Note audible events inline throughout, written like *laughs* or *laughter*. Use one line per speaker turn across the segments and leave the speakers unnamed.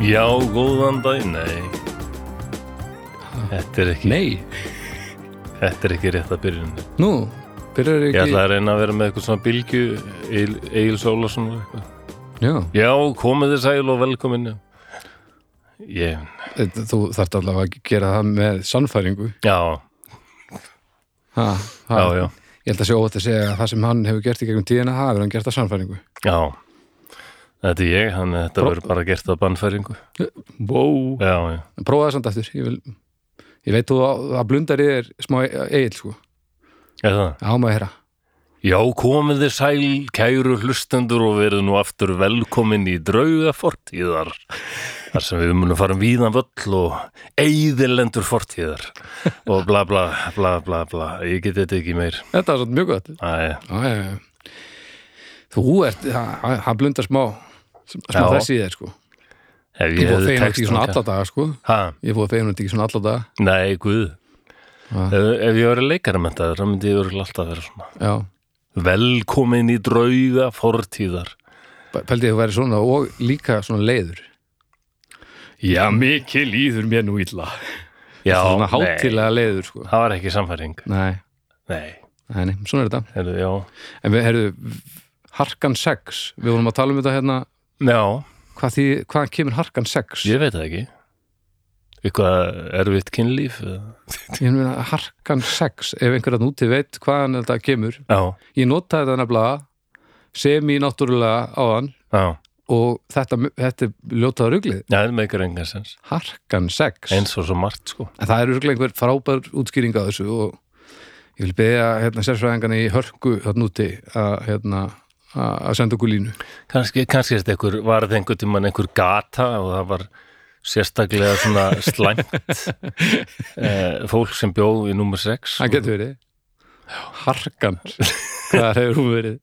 Já, góðan dag, nei Þetta er ekki,
Nei,
þetta er ekki rétt að byrjun
nú, byrjar
Ég
ekki
ætla að reyna að vera með eitthvað svona bylgju Egil- Egil Sólason og eitthvað.
Já,
Já, komið þið sæl og velkomin Ég,
þetta- þú þarft allavega að gera það með sannfæringu
já,
ha, ha.
já, já
Ég held að sé óvægt að segja að það sem hann hefur gert í gegnum tíðina það hefur hann gert að sannfæringu
Já, þetta er ég Þannig að þetta
Bró-
verður bara gert að bannfæringu
Bó.
Já, já,
Prófa það samt aftur Ég, vil, ég veit þú að, að blundar í þér smá eigil sko
er það
Já, maður herra
Já, komið þið sæl, kæru hlustendur og verið nú aftur velkomin í drauga fortíðar þar sem við munum fara um víðan völl og eiðilendur fortíðar og bla bla bla bla bla ég get þetta ekki meir
Þetta var svolítið mjög gott
Æ,
já, já, já. Þú ert, hann hann blundar smá smá
Já.
þessi í þér sko
hef
Ég
ég
fóð
hefði
fegin ekki í
textan
svona
kæ-
alla daga sko
Ha,
Ég fóð fegin ekki í svona alla daga
nei, guð
Ha.
ef, ef ég verið leikarmentaður, þá myndi ég verið alltaf að vera svona
Já
Velkomin í drauga fortíðar
Pældi ég að þú væri svona og líka svona leiður Já, mikið líður mér nú illa
Já, nei,
Svona hátilega leiður, sko
það var ekki samfæring
Nei,
Nei,
nei, nei, svona er þetta
hefðu, já
En við, heyrðu, harkan 6 Við vorum að tala um þetta hérna
Já,
Hvað, því, hvað kemur harkan 6?
Ég veit það ekki Eitthvað erfitt kynlíf eða?
Ég meina, harkan 6 Ef einhverjarn úti veit hvaðan þetta kemur
Já,
Ég notaði þetta nefnilega sem í náttúrulega áðan
já,
og þetta, þetta er ljótaða ruglið
já, það meikar engan sens
harkan 6
Eins og svo margt sko
En það eru örugglega einhver frábær útskýring á þessu og ég vil beðja hérna, sérfræðingana í hörku þarna úti að, hérna, að að senda okkur línu.
Kanski, kannski er þetta einhver, var þetta einhver tímann einhver gata og það var sérstaklega *laughs* svona slæmt eh, fólk sem bjó í númer 6
Það getur verið. Harkan. *laughs* Hvað hefur hún verið?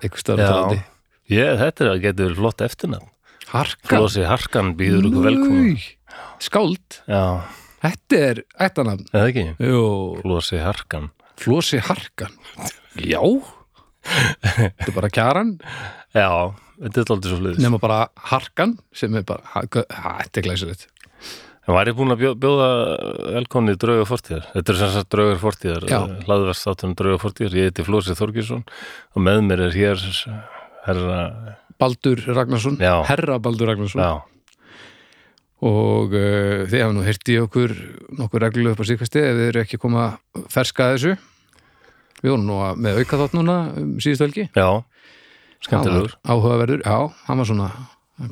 Eitthvað starf
Já,
tólandi.
ég, þetta er að getur verið flott eftirnafn
Harkan.
Flósi Harkan býður ykkur velkomin
Új, Skáld.
Já,
Þetta er ættanafn.
eða ekki
Jú.
Flósi Harkan
Flosi Harkan. Já. Þetta er bara kjaran.
Já, þetta er aldrei svo fliðis
Nefna bara Harkan sem er bara, ha- hvað- ha, þetta er glæsilegt.
En væri búin að bjó- bjóða velkonni í Draugar fortíðar. Þetta er sem sagt Draugar fortíðar,
Já.
hlaðverst áttunum Draugar fortíðar. Ég heiti Flósi Þorgjursson og með mér er hér herra,
Baldur Ragnarsson,
Já.
herra Baldur Ragnarsson.
já,
og uh, þið hafa nú hirt í okkur nokkur reglulega upp á síkvæsti ef þið eru ekki koma ferska að þessu við vorum nú að, með auka þátt núna um, síðustu helgi
já, skemmtilegur.
Hann var áhugaverður, já, hann var svona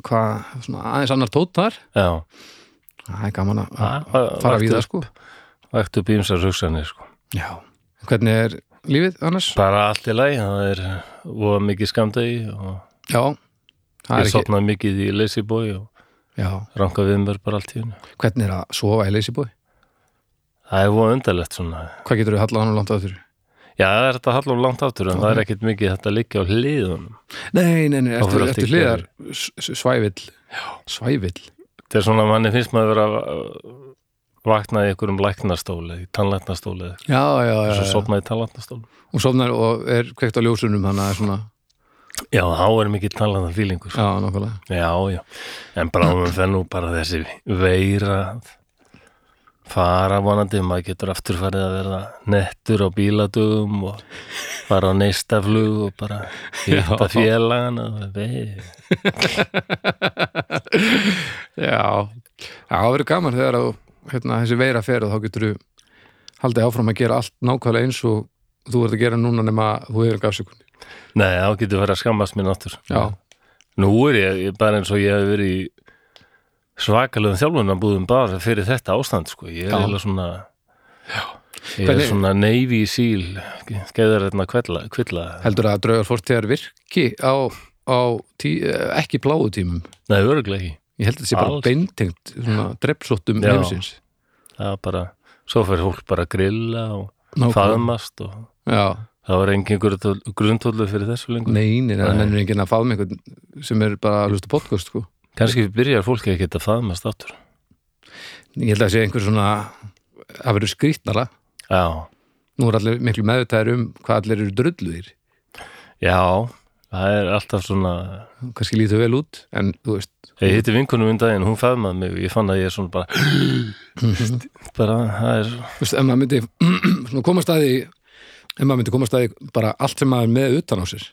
hvað, svona aðeins annar tótt þar
Já,
það er gaman að
Ha,
að
ha,
Ah, fara
vakti
við það
upp.
sko
vægt upp ímsar hugsanir sko.
já, hvernig er lífið annars?
Bara allt í lagi, það er voða mikið skamdegi og
já, það
ég
er ekki
sopnaði mikið í leysibói og
já,
ranka við mér bara allt í hennu.
hvernig er að sofa í leysibói?
Það er voða undarlegt svona.
hvað getur þau hallað hann og langt aftur?
Já, það er þetta hallum langt áttur en það er
Ok.
ekkit mikið þetta liggja á hliðunum.
nei, nei, nei,
Þá fer
eftir,
allt í
eftir hliðar s- s- svævill, svævill
þetta er svona að manni finnst maður vera að vakna í einhverjum læknastóli, í tannlæknastóli eða
já, já, já,
svo
já.
sopna í tannlæknastóli
Hún sofnar og er kveikt á ljósunum hann að svona,
já, þá er mikið tannlækna fílingur já,
já, nákvæmlega.
já, en bráðum það nú bara þessi veira fara vonandi maður getur aftur farið að verða nettur á bíladugum og bara á neistaflug og bara hitta
Já.
félagana og vei-
Já. Já, það verður gaman þegar að, hérna, þessi veira fer og þá getur þú haldið áfram að gera allt nákvæmlega eins og þú ert að gera núna nema þú hefur gafsökun.
nei, þá getur verið að skammast mér náttúr
Já.
Nú er ég, ég bara eins og ég hef verið í svakalöfum þjálfunarbúðum bara fyrir þetta ástand sko. ég er
Já.
eiginlega svona ég er
Hvernig-
svona neyfi í síl skeiðar hérna kvilla, kvilla.
Heldur að draugar fórtíðar virki á, á tí, eh, ekki bláu tímum.
Nei, örgulega ekki
Ég held að þetta sé bara
Alls.
beintengt svona drepsóttum
Já.
heimsins.
það er bara, svo fyrir fólk bara að grilla og
Nákvæmlega.
faðmast og
Já.
það var engin grundhóllu fyrir þessu lengur
Nei, nei, það
Nei.
mennur enginn að faðma einhvern sem er bara að hlusta á podcast, sko.
kannski byrjar fólk ekki að faðmast áttur
Ég held að sé einhver svona, það verður skrýtnara.
já,
nú er allir miklu meðvitaðir um hvað allir eru drulluðir
já það er alltaf svona
kannski lítur vel út en þú veist,
ég hitti vinkunum um daginn, hún faðmaði mig og ég fann að ég er svona
*gasps*
bara bara, það er
þú veist, ef maður myndi *clears throat* svona komast að því ef maður myndi komast að því bara allt sem maður er með utan á sér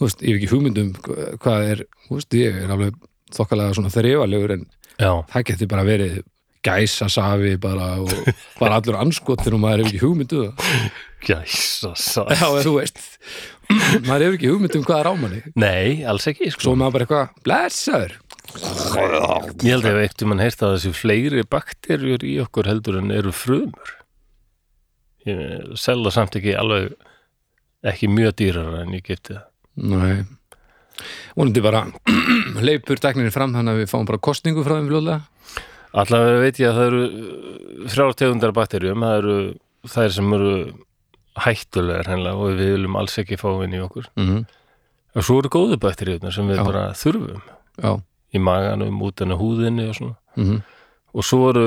þú veist, ég hef ekki hugmyndum hvað er, þú veist, ég er alveg þokkalega svona þrifalegur en
já,
það geti bara verið gæsa safi bara og bara allur anskotin og maður hefur ekki hugmyndu það
gæsa sá
já, en *laughs* þú veist, maður hefur ekki hugmyndum hvað er á manni
nei, alls ekki, sko
svo er maður bara eitthvað, blessaður
ég held að ef eftir mann heyrt að þessi fleiri bakterjur í okkur heldur en eru frumur ég selða samt ekki alveg ekki mjög dýrara en ég geti það
nei vonandi bara *clears throat* leipur tekninir fram þannig að við fáum bara kostningu frá þeim fljóðlega
Allavega veit ég að það eru uh, þrjár tegundar bakterjum, það eru þær sem eru hættulegar hennilega og við viljum alls ekki fá inn í okkur.
mm
Og svo eru góðu bakterjurnar sem við
Já.
bara þurfum
já,
í maganum, út enn á húðinni og svona.
mhm
Og svo eru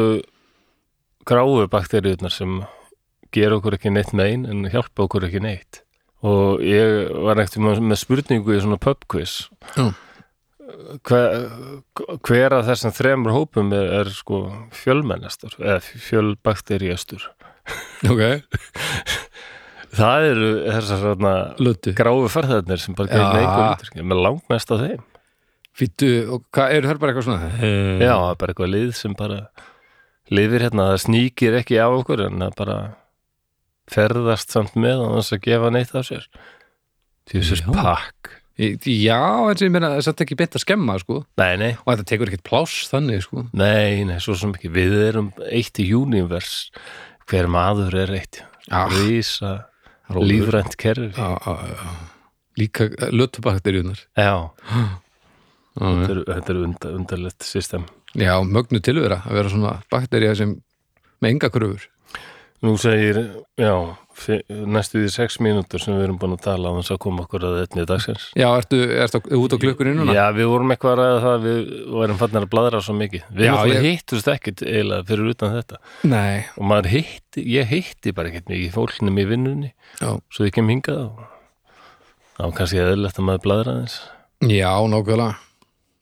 gráu bakterjurnar sem gera okkur ekki neitt megin en hjálpa okkur ekki neitt. Og ég var ekkert með spurningu í svona pubquiz.
Já.
Hver, hver af þessum þremur hópum er, er sko fjölmennastur eða fjölbakteríastur?
Ok,
Það eru þessar svona
lötu
gráu farðarnir sem bara gegna
Já.
einhver lítur með langmest af þeim.
Fýttu, og hvað, eru þær bara eitthvað svona? Uh,
Já, það er bara eitthvað lið sem bara lifir hérna, það sníkir ekki á okkur en það bara ferðast samt með og þess að gefa neitt af sér. Þjóðsins
Já.
pakk.
Já, en sem ég meina, það er satt ekki beint að skemma, sko
Nei, nei,
Og þetta tekur ekkert pláss þannig, sko
nei, nei, svo sem ekki. Við erum eitt í univers. Hver maður er eitt.
Já,
Rísa,
Ah. rólegur.
lífrænt kerfi.
Já, já, já Líka eh, lötubakteríunar
Já,
Já,
þetta er, þetta er undar, undarlegt system.
já, mögnu tilvera að vera svona baktería sem með enga kröfur
Nú segir, já, fi- næstu því sex mínútur sem við erum búin að tala á þess að koma okkur að þetta dagsins.
Já, ertu, ertu út á klukkunni núna?
Já, við vorum eitthvað að ræða það, við varum fannir að bladra svo mikið. Við
Já,
náttúrulega
ég-
hittust ekkit eiginlega fyrir utan þetta.
Nei,
Og maður hitti, ég hitti bara ekkit mikið fólknum í vinnunni,
já,
svo ég kem hingað og það var kannski eðlilegt að maður bladra aðeins.
já nákvæmlega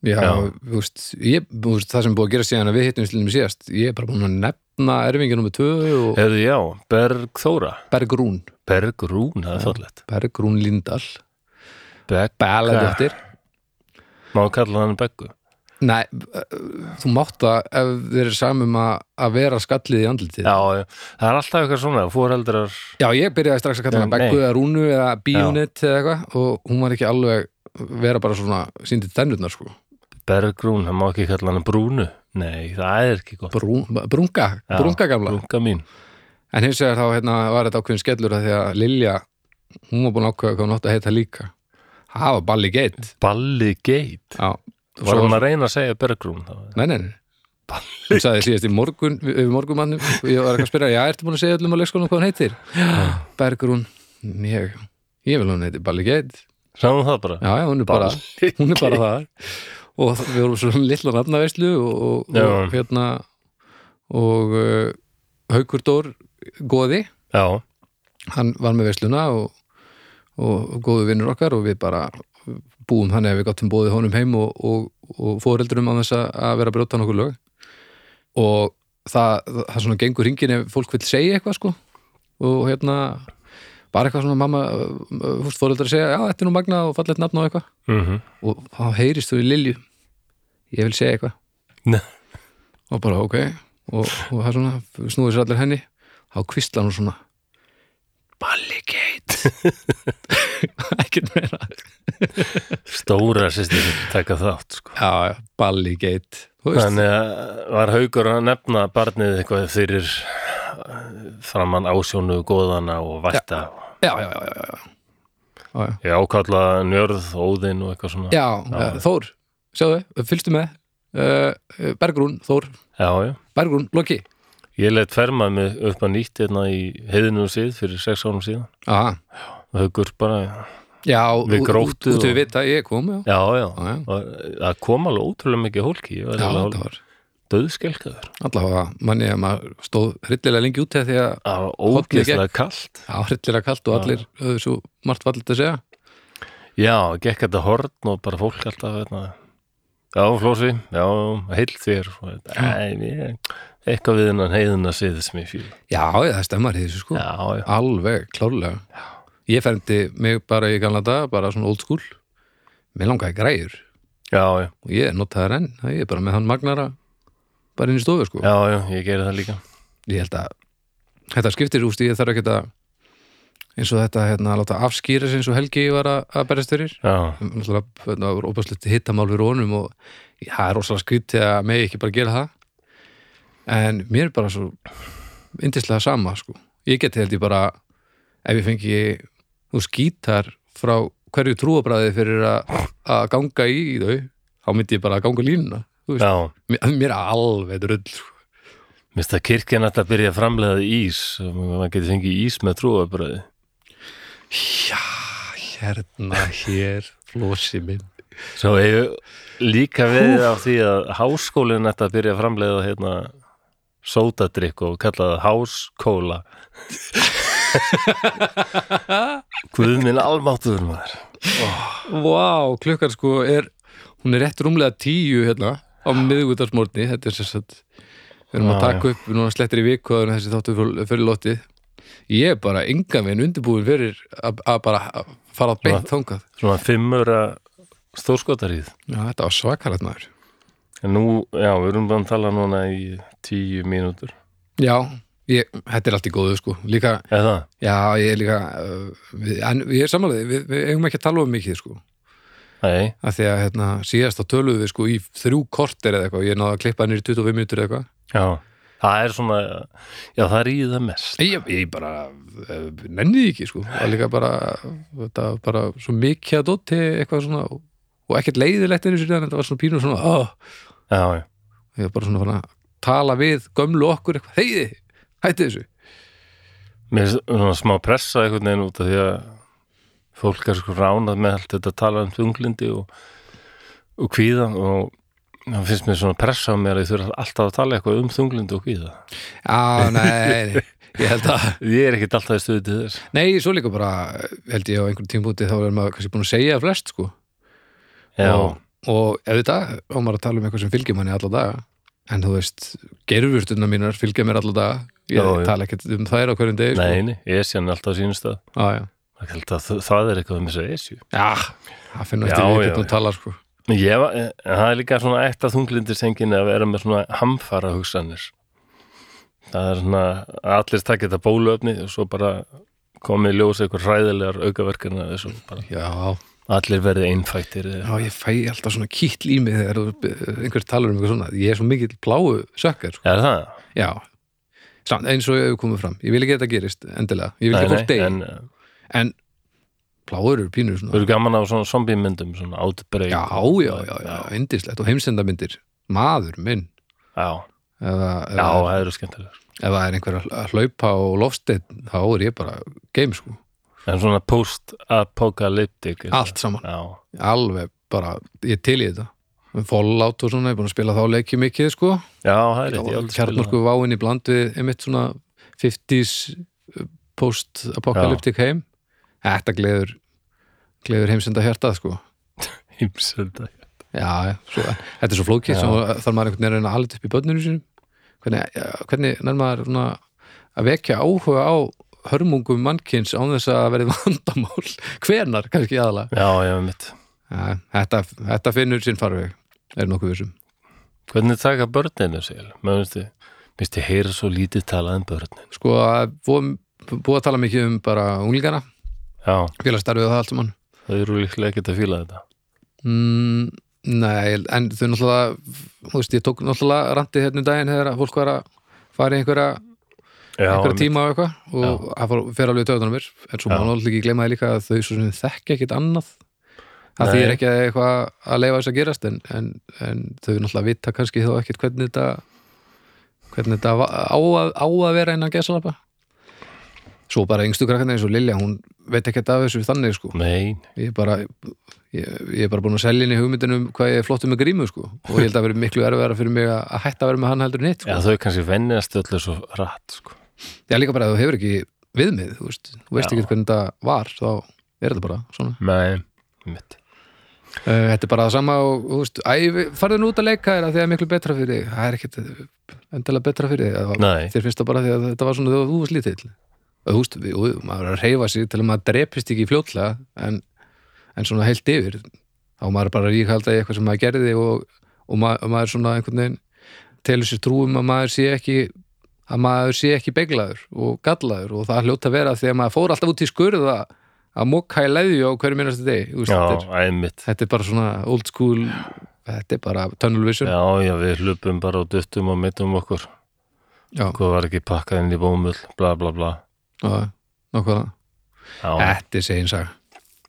Já,
Já.
þú veist, ég, þú veist, það sem er búið að gera síðan að við hittum slíðum síðast, ég er bara búin að nefna erfingin nummer 2 og
Herðu, já, Bergþóra,
Bergrún
Bergrún, það er þóllett.
Bergrún Lindahl
Begg,
Balladóttir
má kalla hann Beggu.
Nei, uh, þú mátt það ef þeir eru samum að, að vera skallið í andlitið
Já, já, það er alltaf eitthvað svona, fóreldrar,
Já, ég byrjaði strax að kalla
Nei.
hana Beggu eða Rúnu eða Bíunit eða eitthvað og hún var ekki alveg vera bara svona síndi tennurnar sko
Bergrún, það má ekki kalla hann Brúnu. Nei, það er ekki gott.
Brún, Brunga,
Já,
Brunga gamla
Brunga mín.
En hins vegar þá hérna, var þetta ákveðin skellur að því að Lilja, hún var búin að ákveða hvað hún átti að heita líka Það var Balli Geit
Balli Geit.
Já,
Var hann að reyna að segja Bergrún þá?
Nei, nei, nei Hún sagði síðast í morgun, við morgumannum og ég var eitthvað að spyrja, já, ertu búin að segja öllum á leikskólanum hvað hún heitir? Já, Bergrún ég, ég vil að hún heitir Balli Geit
Sáum það bara?
Já, já, hún er bara, *laughs* hún er bara það og það- við vorum svona lilla nafnaveislu og, og,
Já.
og hérna og uh, Haukur Dór Góði,
Já,
hann var með veisluna og, og góðu vinnur okkar og við bara búum þannig að við gáttum bóðið honum heim og, og, og fóreldurum á þess að- að vera að brjóta nokkuð lög og það, það, það svona gengur hringin ef fólk vil segja eitthvað sko og hérna bara eitthvað svona mamma, fórst fóreldar að segja já, þetta er nú magna og fallegt nafn og eitthvað
mm
og þá heyrist þú í Lilju ég vil segja eitthvað
Nei.
og bara ok og, og það svona, snúið sér allir henni þá kvistlar hún svona Balli Gate *laughs* ekkert meira
stóra sýstir taka þátt sko.
já, já, Balli Gate þú veist,
Þannig að var haugur að nefna barnið eitthvað fyrir eh, framann ásjónu góðana og vætta.
já, já, já, já, já. Já, já.
Ég ákalla njörð, óðinn og eitthvað svona.
já, já, Þór, sjáðu, fylgstu með uh, Bergrún, Þór
já. já.
Bergrún, Loki
Ég leitt fermað mig upp að nýtt hérna í heiðinu síð fyrir sex árum síðan.
Aha.
Haugur bara,
já,
Við
út-
gróttuð
út við
og-
vita, ég kom já,
já, já.
já, já,
Og Það kom alveg ótrúlega mikið hólki. Ég var
já
alveg
það var
döðskelkaður.
allavega manni að maður stóð hryllilega lengi út þegar því að
Það var
Hólli gekk.
ógeðslega kallt.
já, hryllilega kalt og allir höfðu svo margt vallið að segja
Ég Já, gekk þetta horn og bara fólk alltaf hérna. Já, Flósi, já, heill þér Æ, ég, eitthvað við hennan heiðina siðið sem ég fíla
Já, já, það stemmar í þessu sko
Já, já,
Alveg, klárlega Ég ferndi mig bara í gamla dag, bara svona old school Mér langaði græjur
já, já,
og ég notaði þær enn, það ég er bara með hann magnara bara inn í stofu sko
já, já, ég geri það líka
Ég held að þetta skiptir úst, ég þarf ekki að eins og þetta, hérna, láta afskýra sig eins og Helgi var að, að berjast fyrir
Já,
náttúrulega hérna, var óbæslegt hittamál fyrir honum og já, það er rosalega skrítið að megi ekki bara gera það en mér er bara svo yndislega sama sko ég geti held ég bara ef ég fengi þú skítar frá hverju trúabræði fyrir að að ganga í þau þá myndi ég bara að ganga línuna þú veist.
já,
mér, mér er alveg drull sko.
minnst að kirkjan alltaf byrja að framlega ís mann geti fengið ís með trúabröði
já, hérna hér, flósi minn
Svo hefur líka verið á því að háskólinn ætti að byrja að framleiða hérna sótadrykk og kalla það háskóla Guð minn almáttuður maður
Vá, klukkan sko er hún er rétt rúmlega tíu hérna á miðvíkudagsmórni, þetta er sérst að við erum að
Já,
taka upp núna slettir í viku áður en þessi þáttu fyrir, fyrir lotið ég er bara engan veginn undirbúin fyrir að að bara að fara að beint þangað
Svona fimmur að stórskotaríð
Já, þetta var svakarætt maður
En nú, já, við erum bara að tala núna í tíu mínútur
Já, ég, þetta er allt í góðu sko líka,
Eða,
já, ég er líka uh, við, en ég er samanlega, við, við eigum ekki að tala um mikið sko,
nei,
af því að hérna, síðast þá töluðum við sko í þrjú kortir eða eitthvað, ég náði að klippa nýr 25 minútur eða eitthvað
já Það er svona, já það er í það mest
Nei, Ég, ég bara eh, nenni því ekki sko það er líka bara, þetta, var bara svo mikið að dóti eitthvað svona og ekkert leiðilegt einu sér en þetta var svona pínur svona oh,
Já, já,
ég var bara svona farin að tala við gömlu okkur eitthvað, heiði, hætti þessu
mér er svona smá pressa einhvern veginn út af því að fólk er sko ránað með allt þetta að tala um þunglindi og, og kvíða og það finnst mér svona pressa á mér að ég þurfa alltaf að tala eitthvað um þunglindi og kvíða
Já, nei, nei, ég held að
ég er ekkert alltaf í stöðu til þess
Nei, svo líka bara, held ég á einhverjum tímpúti þá er maður kannski búin að segja flest sko
já,
og, og ef þetta, á maður að tala um eitthvað sem fylgir manni alla daga en þú veist, gerfurstuna mínar fylgja mér alla daga ég
Já, já.
tala ekkert um þær á hverjum degi sko.
neini, ég sé hann alltaf á sínum stað
Já, já.
Ég held að það- það er eitthvað um þessu esju
Já, það finnum
Já,
eftir við
já,
getum að
já.
tala sko.
ég, var- en það er líka svona eitt af þunglindisengin að vera með svona hamfara hugsanir það er svona að allir takkja þetta bóluöfni og svo bara komið í ljós eitthvað hræðilegar aukaverkana þessu bara
Já,
allir verði einfættir eða-
já, ég fæ alltaf svona kýtl í mig þegar þú- einhver talar um eitthvað svona. Ég er svo mikill bláu sökkar sko.
er það?
Já, Samt, eins og ég hef komið fram. Ég vil ekki að þetta gerist, endilega. Ég vil
Nei,
ekki að
nei,
fólk degi. En,
en uh,
bláur eru pínur svona.
þú eru gaman á svona zombiemyndum svona outbreak
Já, já, já, já, indislegt. Og heimsendamindir. Maður minn.
já,
Eða,
já,
eða,
það eru skemmtilegur
ef það er einhver að hlaupa og lofsteinn, þá er ég bara game sko.
en svona post-apocalyptic er
Allt saman.
það. já,
Alveg bara, ég er til í þetta. Fallout og svona, ég er búin að spila þá leiki mikið sko.
já, það er rétt, ég aldrei spilað
kjarnorku váin í bland við einmitt svona 50s post-apokalyptik heim þetta gleður gleður heimsenda hjartað sko
það. Heimsenda.
já, svo, þetta er svo flókið
Já.
sem þarf maður einhvern veginn að alveg upp í börninu sínum hvernig, ja, hvernig nær maður svona að vekja áhuga á hörmungum mannkins án þess að verið *laughs* vandamál hvenar kannski aðalega
já, já, mitt
ja, þetta, þetta finnur sinn farveg er nokkuð vissum
hvernig taka börninu sér maður veist þið, minnst ég heyra svo lítið talað um börnin
sko, búið, búið að tala mikið um bara unglingana,
já,
félagstarfið og það allt saman
þau eru líklega ekkert að fíla þetta
Mm, nei, en þau náttúrulega þú veist, ég tók náttúrulega randið hérna um daginn þegar að fólk var að fara í einhverja,
já,
einhverja
einmitt.
tíma og eitthvað og það fór- fer alveg töðunum mér en svo
Já.
má náttúrulega ekki gleyma því líka að þau svo sem þekki ekkit annað að því
Nei.
er ekki að eitthvað að leifa þess að gerast en, en, en þau náttúrulega vita kannski þá ekkit hvernig þetta hvernig þetta va- á að, á að vera innan gesalapa svo bara yngstu krakkarnir eins og Lilja hún veit ekkert af þessu þannig sko
nei,
ég er bara ég, ég er bara búin að selja henni hugmyndinum um hvað ég er flottur með grímu sko og ég held að vera miklu erfiðara fyrir mig að að hætta að vera með hann heldur en hitt sko.
já, þau kannski vennast öllu svo rætt sko.
ég er líka bara að þú hefur ekki viðmið þú veist, þú veist
Já.
ekki hvernig þetta var þá er þetta bara svona
nei, mitt.
Eh, Þetta er bara það sama og, þú veist, æ, farðu nú út að leika þér að því að það er miklu betra fyrir þig. Það er ekkit endilega betra fyrir þig. Það var-
Nei.
Þér finnst það bara því að þetta var svona þegar þú varst lítill. Og Þú veist, við- og maður er að reyfa sig til að maður drepist ekki fljótlega en, en svona heilt yfir. Þá maður er bara ríkalda í eitthvað sem maður gerði og, og maður, maður er svona einhvern veginn telur sér trúum að maður sé ekki að maður sé ekki beglaður og gallaður og það hljóta að vera því að maður fór alltaf út í skurða að mokka í leðju á hverju minnast degi. Þú veist, þetta
Já,
er-
einmitt.
þetta er bara svona old school þetta er bara tunnel vision já,
Já, já, við hlupum bara og duttum og mittum okkur.
já,
Hvað var ekki pakkað inn í bómull, bla bla bla.
já nákvæmlega,
Já,
þetta er segin saga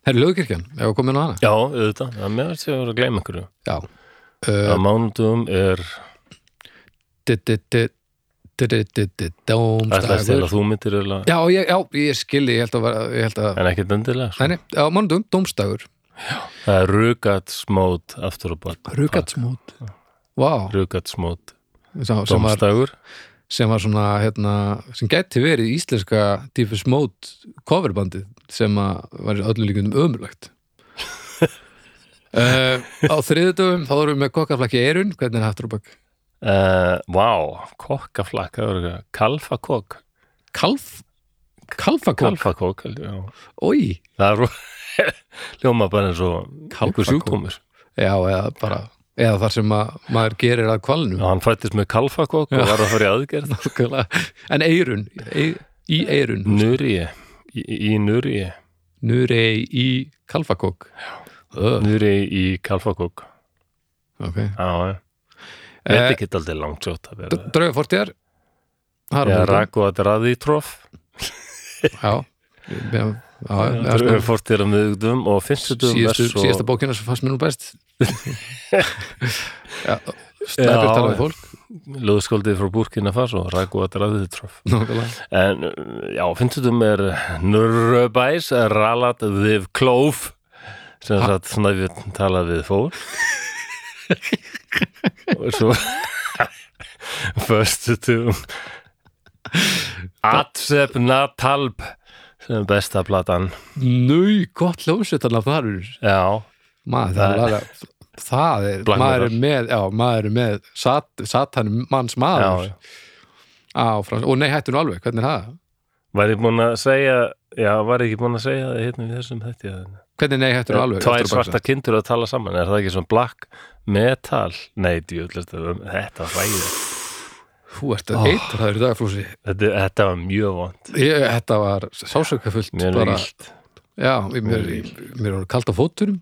Herri Ljóðkirkjan, ef við komum inn á hana
já auðvitað. Það með þess að ég var að gleyma einhverju.
já,
Á
Uh,
mánudum er, ætlaði að stela
dómstagur
þú myndir eiginlega,
já, ég, já, ég skilji, ég held að, vera- ég held að
en ekkert endilega. sko.
Nei, nei, á mannum, dómstagur
Það er rugatsmót aftur og bak.
Rugatsmót Vá,
Rugatsmót.
sem, sem, var,
Dómstagur.
sem var svona hérna, sem gæti verið íslenska Dífus Mót coverbandið sem að var öllum
*laughs*
líkundum ömurlegt uh, á þriðutöfum þá erum við með kokkaflakki Eirun, hvernig er hættur á bak
Uh, Vá, kokkaflakk, það var eitthvað. Kalfakokk.
kalf kalfakokk,
Kalfakokk, já.
oi
Það er *laughs* ro- hljóma bara eins og einhver
Kalfakók.
sjúkdómur.
já, eða bara, eða þar sem að maður gerir að
Já,
kvalnum
hann fættist með kalfakokk og var að fara í
*laughs*
aðgerð.
Nákvæmlega. en Eirun, e, í Eirun
Nurið, í, í nurið.
nurei í kalfakokk Ö,
Nurið í kalfakokk.
ok
Já, já. Þetta er
uh,
ekki aldrei langt sjótt að vera.
drauga fortjar það
Já,
er á
Raku að draði í tróf.
Já, já, já, já
Það
sko,
er fórt þér að miðugdum og finnstu dum
síðastu, síðasta bókina sem fannst mér nú best *laughs* Já,
Já,
Snæbjörn tala við
já.
fólk
löðskóldið frá Búrkina Faso, Raku að draði í tróf.
Nákvæmlega.
En já, finnstu dum er Nurrubæs, Ralat við Klóf, sem
Ha?
satt svona við talað við
*laughs*
fór. og svo *laughs* fyrstu dum Atsep Natalp sem er besta platan.
Nú, gott hljómsveitarnaf þar er
Já,
maður, það er
Það-
laga það er,
Black
maður er
metal.
með já, maður er með sat, satan manns
já,
maður
já.
á, frá, og nei, hættu nú alveg, hvernig er það?
Var ég búin að segja Já, var ég ekki búin að segja það hérna í þessum þetta
hvernig nei, hættu nú alveg
Tvær
Aftur á bak
svarta kindur að tala saman Er það ekki svona black metal? Nei, djúllast, þetta var ræðið
það. þú ert að eitt, það er í dagaflúsi
þetta, þetta var mjög vond
Ég- þetta var sásökafullt
Mér er
bara,
illt
já, mér, mér, mér var kalt á *laughs* fóturum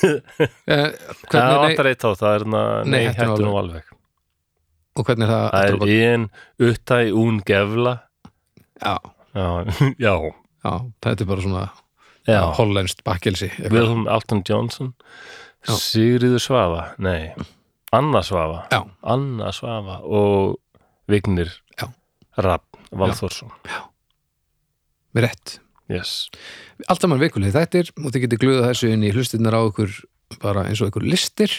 Eh,
Það
hvernig nei,
vantar eitt á, það er na,
Nei,
Nei,
hættu nú
hættu nú alveg
og hvernig er það
Það
aftur á
er
bak?
ein uttæún gefla
já,
Já, *laughs* já,
já, þetta er bara svona
já.
hollenskt bakkelsi eitthvað.
Wilhelm Alton Johnson
Já.
Sigriður Svafa, nei Anna Svafa
já,
Anna Svafa og Vignir
Já.
Rapp Valþórsson
með rétt
yes.
allt saman vikulegið þættir og þið getur glöðað þessu inn í hlustinnar á ykkur bara eins og ykkur listir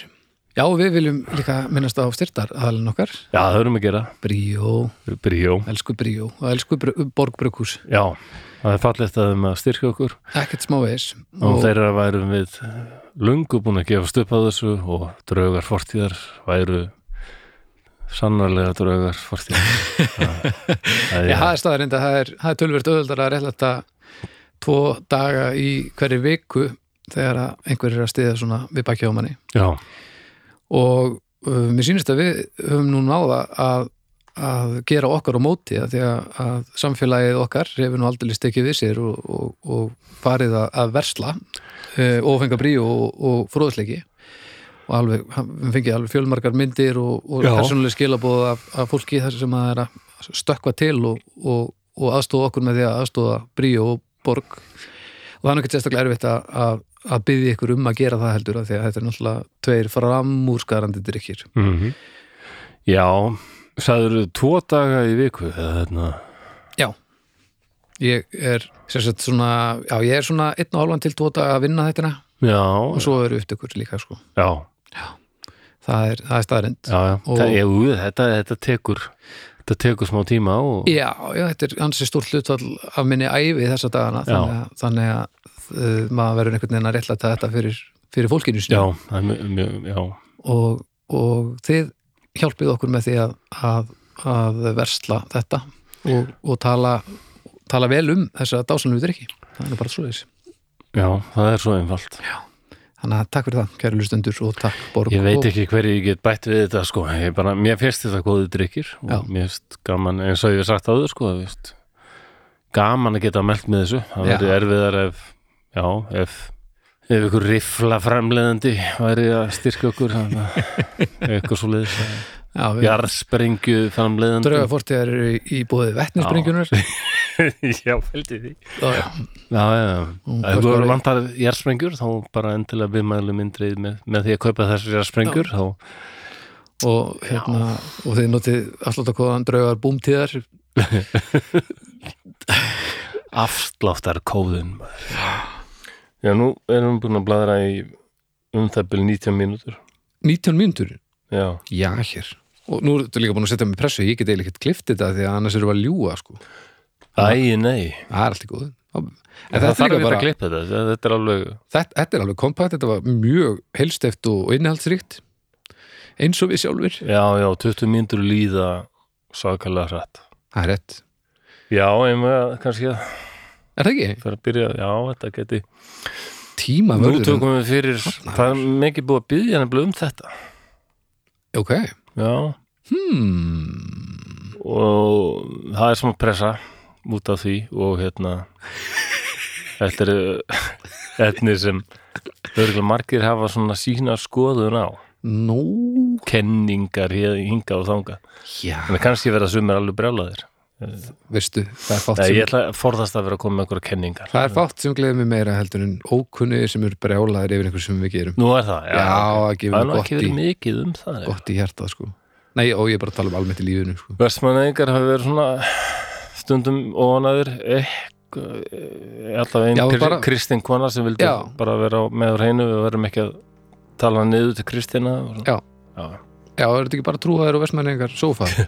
já, við viljum líka minnast á styrtar aðalinn okkar,
Já, það höfum að gera
Bríó
Bríó
elsku Bríó og elsku Borgbrukus
Já, það er fallegt að þeim að styrka okkur
ekkert smá veis
og, og þeirra værum við lungu búin að gefast upp á þessu og draugar fortíðar væru sannarlega draugar fortíðar Það
Já,
er
það er staðarind að það er, það er tölvöld öðuldar að reyla þetta tvo daga í hverju viku þegar að einhver er að stiða svona við bakið á manni
Já,
og uh, mér sýnist að við höfum nú náða að, að gera okkar á móti að því að, að samfélagið okkar hefur nú aldrei stekið við sér og, og, og farið að, að versla uh, ofenga bríu og, og fróðsleiki og alveg, við fengið alveg fjölmargar myndir og, og
Já.
persónuleg skilabóð af, af fólki þar sem að er að stökkva til og, og, og aðstóða okkur með því að aðstóða bríu og borg og það er nú ekki sérstaklega erfitt að, að, að byggja ykkur um að gera það heldur af því að þetta er náttúrulega tveir framúrskarandi drikkir
mm Já Sæður tvo daga í viku eða þarna
ég er sérstaklega svona já, ég er svona einn og hálfan til tóta að vinna þetta
Já,
og svo eru upptökur líka sko
já,
það er, það er staðarind
já, já.
Og-
Það, ég, þetta, þetta tekur þetta þetta tekur smá tíma og
Já, já, þetta er ansi stórt hlutfall af minni æfi þessa dagana
Já.
þannig að, þannig að uh, maður verður einhvern veginn að réttlæta þetta fyrir, fyrir fólkinu sinni
já, það er mjög, mjög, já,
og, og þið hjálpið okkur með því að, að, að versla þetta og, og tala, tala vel um þessa dásanlegu drikki það er nú bara svo þess
já, það er svo einfalt
þannig að takk fyrir það, kæru lustendur og takk Borg
Ég veit
og,
ekki hverju ég get bætt við þetta sko, ég bara, mér finnst þetta góðu drikkir og
Já.
mér finnst gaman, eins og ég hef sagt áður sko, þú veist, gaman að geta meld með þessu, það
Já.
verður erfiðar ef, já, ef ef ykkur rifla framleiðandi væri að styrka okkur þannig að-
*laughs*
eitthvað svo leiðis
já, við
jarðsprengju framleiðandi
drauga fórtíðar eru í- í bóði
*laughs*
vettinspringjunar *laughs*
Já, fældi því
já,
Já, já, já.
Hún
Ef þú
kostar-
eru vantar jarðsprengjur þá bara endilega við mælum indrið með, með því að kaupa þessar jarðsprengjur þá
og, hérna, og þið notið afslátt að kóðan draugar búmtíðar
afsláttar kóðun Já, nú erum við búin að bladra í um það byrja 19 mínútur
19 mínútur
Já,
já, hér og nú ertu líka búin að setja mig í pressu, ég get eiginlega ekkert klift þetta því að annars erum við að ljúga sko.
æ, nei
það er allt í góð en
Það,
þetta er
þarf
líka
ekki
bara
að klippa þetta, þetta- þetta er alveg
þetta, þetta er alveg kompakt, þetta var mjög helsteft og innihaldsríkt eins og við sjálfur
Já, já, 20 mínútur líða sakalega hrætt
það er rétt,
Já, einhver, kannski að
er það ekki?
fyrir að byrja, já, þetta geti
tíma
Nú
vörður
tökum við fyrir, það er mikið búið að byggja nefnilega um þetta
ok,
Já,
hmm
og það er smá pressa út af því og hérna þetta er etni sem örgulega margir hafa svona sína skoðun á
nú,
kenningar hér hinga og þanga
já
en kannski verða sumir alveg brjálaðir
veistu, það er fátt
Nei, ég
sem
ætla að forðast að vera að koma með einhverja kenningar
það er fátt sem gleður mig meira heldur en ókunni sem eru brjálaðir yfir einhver sem við gerum
Nú er það,
já, að
það
gefa
er nú
mér
ekki
gott í
verið mikið um það
gott í hjartað sko nei, og ég er bara að tala um almennt í lífinu sko.
Vestmannegar hafa verið svona stundum óanaður alltaf einn
Já,
kri
bara-
kristin kona sem vildi
Já.
bara vera á- með á hreinu við verum ekki að tala niður til kristina og svona.
Já.
Já.
já, er þetta ekki bara trúaður og vestmenningar sófa
*laughs*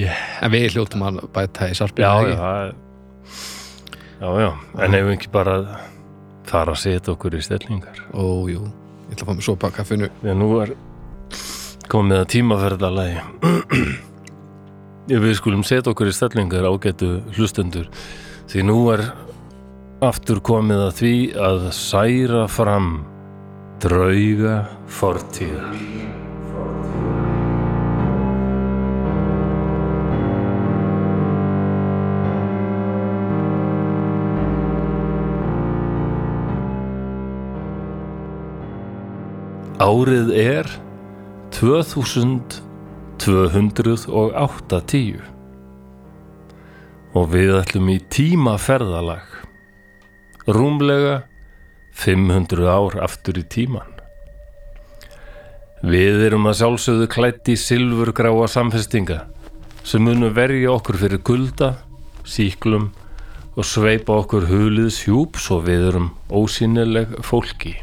Yeah.
en við hljóttum að bæta í sarpið
Já,
ekki?
já, það er- já, já, en ef við ekki bara fara að setja okkur í stellingar
Ó, jú, ég ætla að fá mér sopa að kaffinu
því að nú er komið að tímaferðalagi ef við skulum setja okkur í stellingar ágætu hlustundur því nú er aftur komið að því að særa fram drauga fortíðar Árið er 2280 og við ætlum í tímaferðalag rúmlega 500 ár aftur í tíman. Við erum að sjálfsögðu klætt í silfurgráa samfestinga sem munum verja okkur fyrir kulda, síklum og sveipa okkur hulið sjúp svo við erum ósýnileg fólki.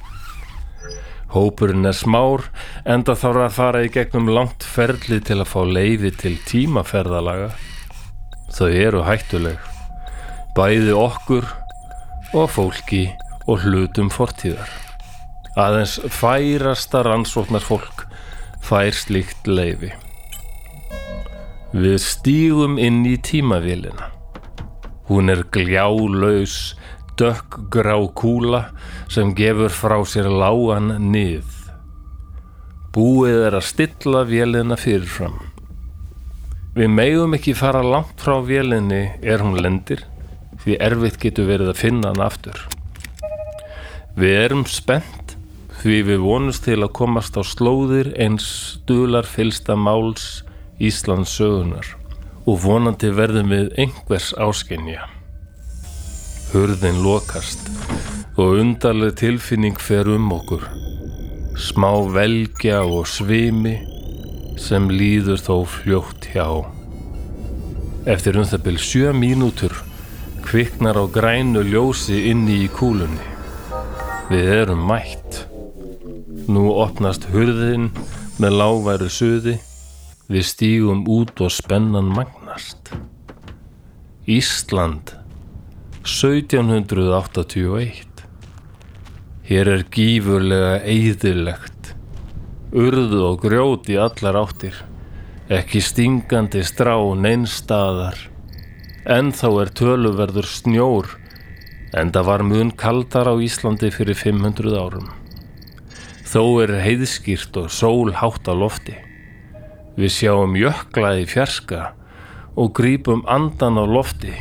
Hópurinn er smár, enda þarf að fara í gegnum langt ferli til að fá leiði til tímaferðalaga. Þau eru hættuleg, bæði okkur og fólki og hlutum fortíðar. Aðeins færasta rannsóknar fólk fær slíkt leiði. Við stígum inn í tímavélina. Hún er gljálaus, dökkgrá kúla sem gefur frá sér lágan nið. Búið er að stilla vélina fyrirfram. Við megum ekki fara langt frá vélinni er hún lendir, því erfitt getur verið að finna hann aftur. Við erum spennt því við vonumst til að komast á slóðir eins stular fylsta máls Íslands sögunar og vonandi verðum við einhvers áskynja. Hurðin lokast og undarleg tilfinning fer um okkur. Smá velgja og svimi sem líður þó fljótt hjá. Eftir um það byrð sjö mínútur kviknar á grænu ljósi inni í kúlunni. Við erum mætt. Nú opnast hurðin með lágværu suði Við stígum út og spennan magnast. Ísland 1781 Hér er gífurlega eðilegt. Urðu og grjót í allar áttir. Ekki stingandi strá neinstaðar. En þá er töluverður snjór en það var mun kaldar á Íslandi fyrir 500 árum. Þó er heiðskýrt og sól hátt á lofti. Við sjáum jökla í fjarska og grípum andan á lofti.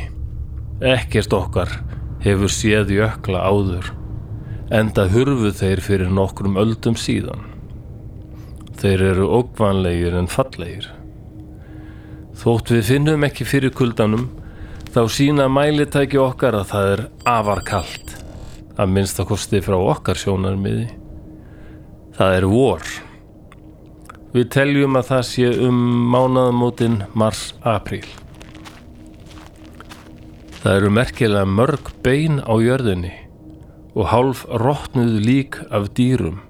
Ekkert okkar hefur séð jökla áður, enda hurfu þeir fyrir nokkrum öldum síðan. Þeir eru ógvanlegir en fallegir. Þótt við finnum ekki fyrir kuldanum, þá sína mælitæki okkar að það er afar kalt, að minnst að kosti frá okkar sjónarmiði. Það er vor. Við teljum að það sé um mánaðamótin mars-apríl. Það eru merkilega mörg bein á jörðinni og hálf rótnuð lík af dýrum,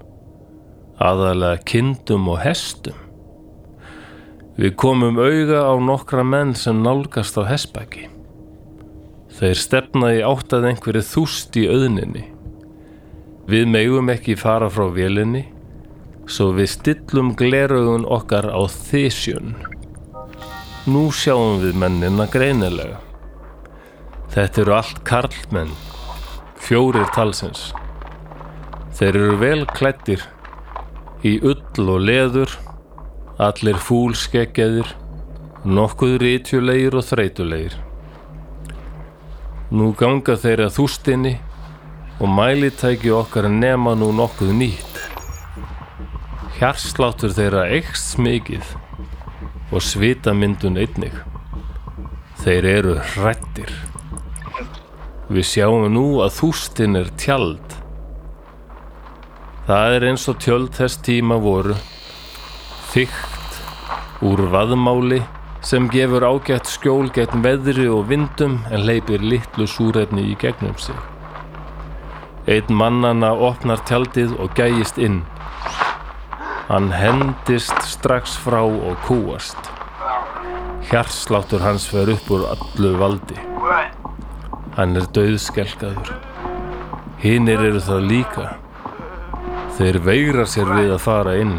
aðalega kindum og hestum. Við komum auga á nokkra menn sem nálgast á hestbæki. Þeir stefna í átt að einhverju þúst í auðninni. Við megum ekki fara frá vélinni svo við stillum gleraugun okkar á þysjun. Nú sjáum við mennina greinilega. Þetta eru allt karlmenn, fjórir talsins. Þeir eru vel klættir, í ull og leður, allir fúlskeggjaðir, nokkuð rítjulegir og þreytulegir. Nú ganga þeir að þústinni og mælitæki okkar nema nú nokkuð nýtt. Hjarsláttur þeirra eikst smikið og svitamyndun einnig. Þeir eru hrættir. Við sjáum nú að þústin er tjald. Það er eins og tjöld þess tíma voru. Þygt, úr vaðmáli sem gefur ágætt skjól gegn veðri og vindum en leipir litlu súrefni í gegnum sig. Einn mannana opnar tjaldið og gægist inn. Hann hendist strax frá og kúast. Hjarsláttur hans fer upp úr allu valdi. Hann er döðskelkaður. Hinnir eru það líka. Þeir veira sér við að fara inn.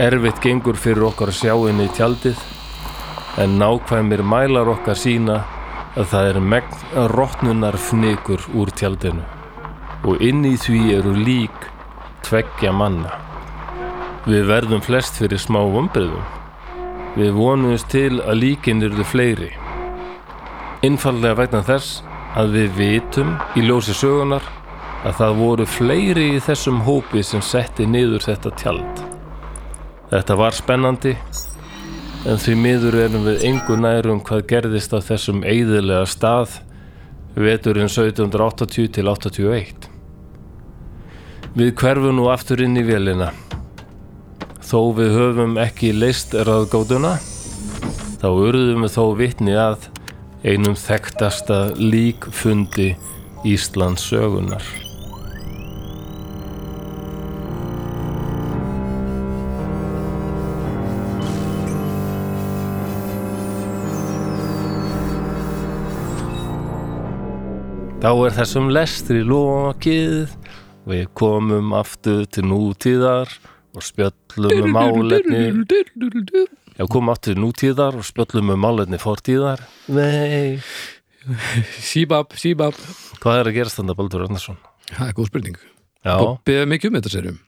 Erfitt gengur fyrir okkar að sjá inn í tjaldið en nákvæmir mælar okkar sína að það er megn rótnunar fnykur úr tjaldinu og inn í því eru lík tveggja manna. Við verðum flest fyrir smá vombriðum. Við vonumst til að líkin eru fleiri. Innfallega vegna þess að við vitum í ljósi sögunar að það voru fleiri í þessum hópi sem setti niður þetta tjald. Þetta var spennandi en því miður erum við engu nærum hvað gerðist á þessum eigðilega stað veturinn 1780 til 81. Við hverfum nú aftur inn í vélina. Þó við höfum ekki leist ráðgótuna, þá urðum við þó vitni að einum þekktasta líkfundi Íslands sögunar. Þá er þessum lestri lokið Við komum aftur til nútíðar og spjöllum um málefni Já, komum aftur til nútíðar og spjöllum um málefni fortíðar Nei
Síbab, síbab
Hvað er að gerast þannig, Baldur Arnarsson?
Það er góð spurning
Já,
Bobbi er mikið um þetta serum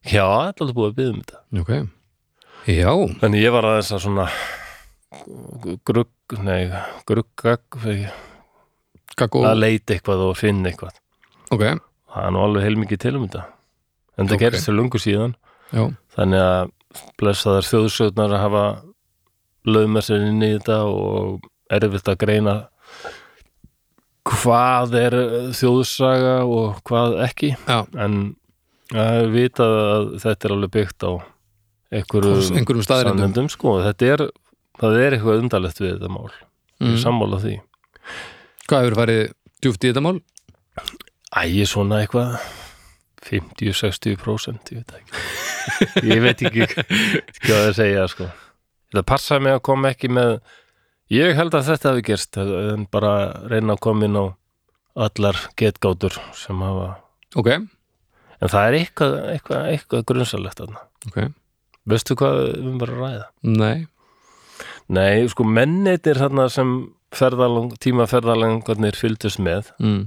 já, þetta er alveg búið að byggja um þetta
Ok Já,
Þannig ég var aðeins að svona grugg, nei, gruggag
kakó
að leita eitthvað og finna eitthvað
Ok,
Það er nú alveg heilmikið til um þetta En það
Ok.
gerist fyrir lungu síðan
já,
þannig að blessaðar þjóðsögnar að hafa laumar sér inn í þetta og erfitt að greina hvað er þjóðsaga og hvað ekki
já
en það er vitað að þetta er alveg byggt á einhverju
einhverjum staðarindum
sannendum sko þetta er, það er eitthvað undarlegt við þetta mál ég er
mm.
sammála því
Hvað hefur farið djúft í þetta mál?
Æ, ég er svona eitthvað 50-60% ég veit það ekki *laughs* ég veit ekki hvað það segja sko. það passaði mig að koma ekki með ég held að þetta hafi gerst en bara reyna að koma inn á allar getgátur sem hafa
ok,
en það er eitthvað, eitthvað, eitthvað grunnsalegt þarna
ok,
veistu hvað við erum bara að ræða
nei
nei, sko mennitir þarna sem ferðalang, tímaferðalangarnir fylgdust með
mm.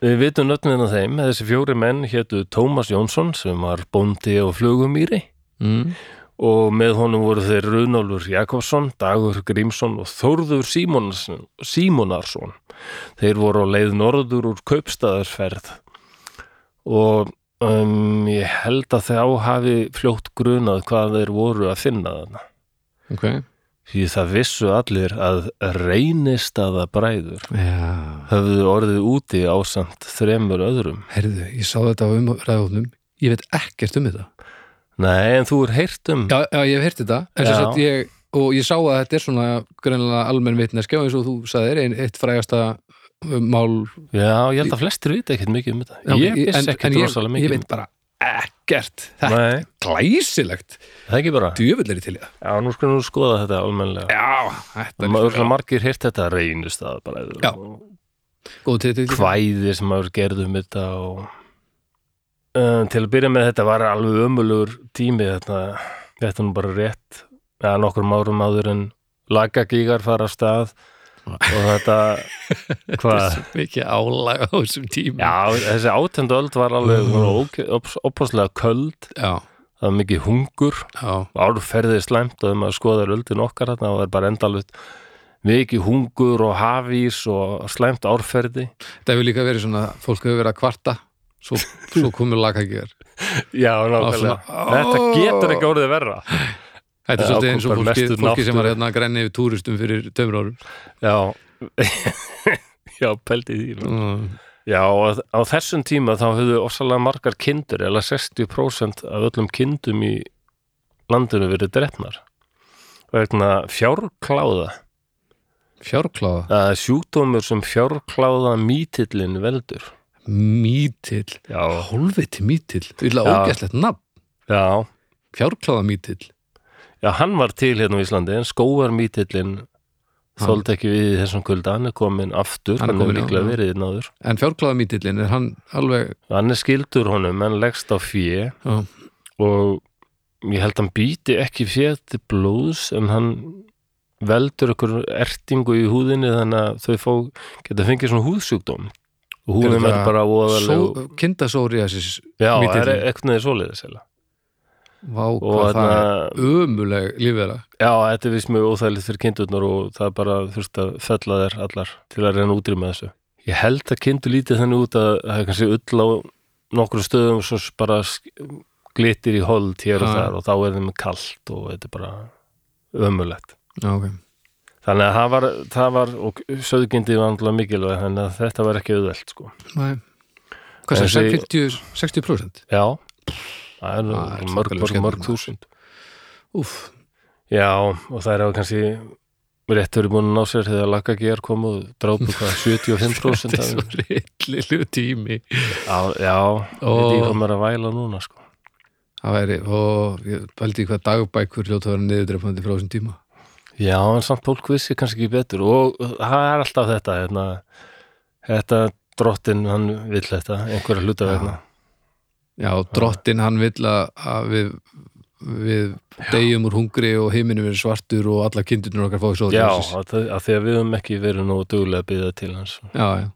Við vitum nöfnin af þeim, þessi fjóri menn hétu Tómas Jónsson sem var bóndi á flugumýri
Mm.
og með honum voru þeir Runólfur Jakobsson, Dagur Grímsson og Þórður Símonarson, Símonarsson. Þeir voru á leið norður úr kaupstaðarsferð og um, ég held að þau hafi fljótt grunað hvað þeir voru að finna þarna.
ok
Því það vissu allir að reynistaða bræður
já
höfðu orðið úti ásamt þremur öðrum.
Herðu, ég sá þetta á umræðunum Ég veit ekkert um þetta
Nei, en þú er heyrt um
Já, já ég hef heyrt þetta En sem
Já.
sagt ég, og ég sá að þetta er svona greinlega almenn vitneskja og eins og þú sagðir ein, eitt frægasta uh, mál
Já, ég held að flestir vita ekkert mikið um þetta.
Já,
ég
en-
vissi
en
ekkert
ég-
rosalega mikið
Ég
um
veit bara
þetta.
ekkert Þetta er
Nei,
glæsilegt
það er ekki bara.
Djöfulleri til í það
Já, nú skulum við skoða þetta almennilega.
Já, þetta
Það er
er
margir heyrt þetta reynist að bara
Já. góð til þetta
hvæði sem maður gerði um þetta og um, til að byrja með þetta var alveg ömulugur tími þetta, þetta er nú bara rétt ja, nokkrum árum áður en lagagígar fara af
*laughs*
stað og þetta hvað
Mikið álag á þessum tíma
Já, þessi átöndu öld var alveg opaslega köld,
já,
það var mikið hungur
já,
árferðið slæmt og ef maður skoðar öldin okkar þarna og það er bara endalvut mikið hungur og hafís og slæmt árferði
Það hefur líka verið svona, fólk hefur verið að kvarta
*laughs*
Svo, svo komur lagakíkar
Já,
nákvæmlega.
Þetta getur ekki orðið verra
Þetta er
Já,
svolítið eins og
bara
fólki,
mestu
fólki sem var
náttúru.
hérna að grenni yfir túristum fyrir tömur árum
Já *laughs* Já, pældi því nú.
mm.
Já, og á þessum tíma þá höfðu ofsalega margar kindur eða 60% af öllum kindum í landinu verið drefnar vegna fjárkláða
Fjárkláða,
það er sjúkdómur sem fjárkláða mítillin veldur
mítill
Já,
Hólfið til mítill, þú vilja
Já.
ógæslegt nafn
já
Fjárkláða mítill
Já, hann var til hérna á Íslandi en skóarmítillin þóld ekki við í þessum kulda, hann er komin aftur,
Hann
hann
er
er komin
kominn, já,
líklega
já.
verið náður.
En fjárkláða mítillin er hann alveg
Hann er skildur honum, hann leggst á fjö
Já.
og ég held hann býti ekki fjö til blóðs en hann veldur ykkur ertingu í húðinni þannig að þau fó, geta fengið svona húðsjúkdóm og húðin
Er
er
það
bara óðalegu.
só, kindasóriasis
Já, það er
mítillinn?
eitthvað neður svoleiðis heila.
Vá,
Og
hvað það er
þarna-
ömuleg lífvera
Já, þetta er vist mjög óþægilegt fyrir kindurnar og það er bara þurft að fella þær allar til að reyna að útrýma þessu. Ég held að kindur lítið þannig út að það er kannski ull á nokkru stöðum svo s- bara sk- glittir í hold hér og
Ha.
þar og þá er þeim kalt og þetta er bara ömulegt.
Já, ok
Þannig að það var, það var og söðgindi var andla mikilvæg þannig að þetta var ekki auðvelt sko.
Nei. Hvað sem,
Þessi-
50, 60%?
Já, það er
Það er
mörg, mörg,
þokkalega
mörg,
skemmtilegt.
mörg þúsund.
Úf,
Já, og það er á kannski rétt verið búin að ná sér þegar lagagér kom og drápu hvað 75%
*laughs* þetta er
af
svo
þeim.
reyllilu tími
Já, já
Ó.
þetta er komið að væla núna sko.
Það væri, og ég veldi hvað dagbækur hljóta að vera niðurdreifandi frá þessum tíma
Já, en samt fólk vissi kannski ekki betur og það er alltaf þetta hérna, þetta drottinn hann vill þetta, einhverja hluta
Já.
vegna
Já, drottin hann vill að, að við, við deyjum úr hungri og heiminum er svartur og alla kindurnir okkar fóði svo
Já, að, það- að því að við höfum ekki verið nú duglega að byggja til hans
já, já.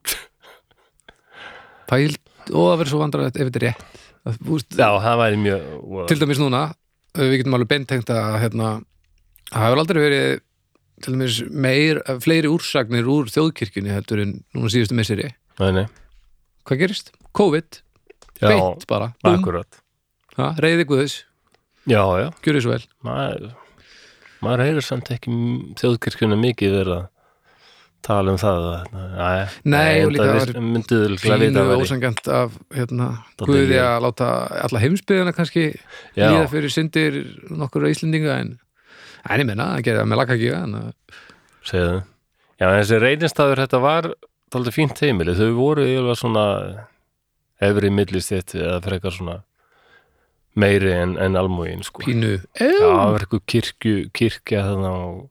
Pæl, og það verður svo vandrarætt ef þetta er rétt Það- þú veist,
Já, það væri mjög
Til dæmis núna, við getum alveg beintengt að hérna, það hefur aldrei verið til dæmis meir, fleiri úrsagnir úr þjóðkirkjunni heldur en núna síðustu misseri
Nei, nei,
Hvað gerist? COVID,
já,
beitt bara búm,
akkurat
ha, reyði guðis,
Já, já,
gjörðu svo vel
maður, maður heyrir samt ekki þjóðkirkjuna mikið verið að tala um það að,
Nei, og líka það
það myndið líklega vita
pínu
að veri
ósangjönd af hérna,
Dálítið
Guði
léleg.
að láta alla heimsbyðina kannski
Já.
líða fyrir syndir nokkur Íslendinga en, en ég menna, það gerði það með lakakíka en að-
segðu Já, en þessi reynistafur þetta var þáldið fínt heimili, þau voru eiginlega svona efri millistétt eða frekar svona meiri en, en almúin sko.
pínu
Já, það var eitthvað kirkju, kirkja þannig og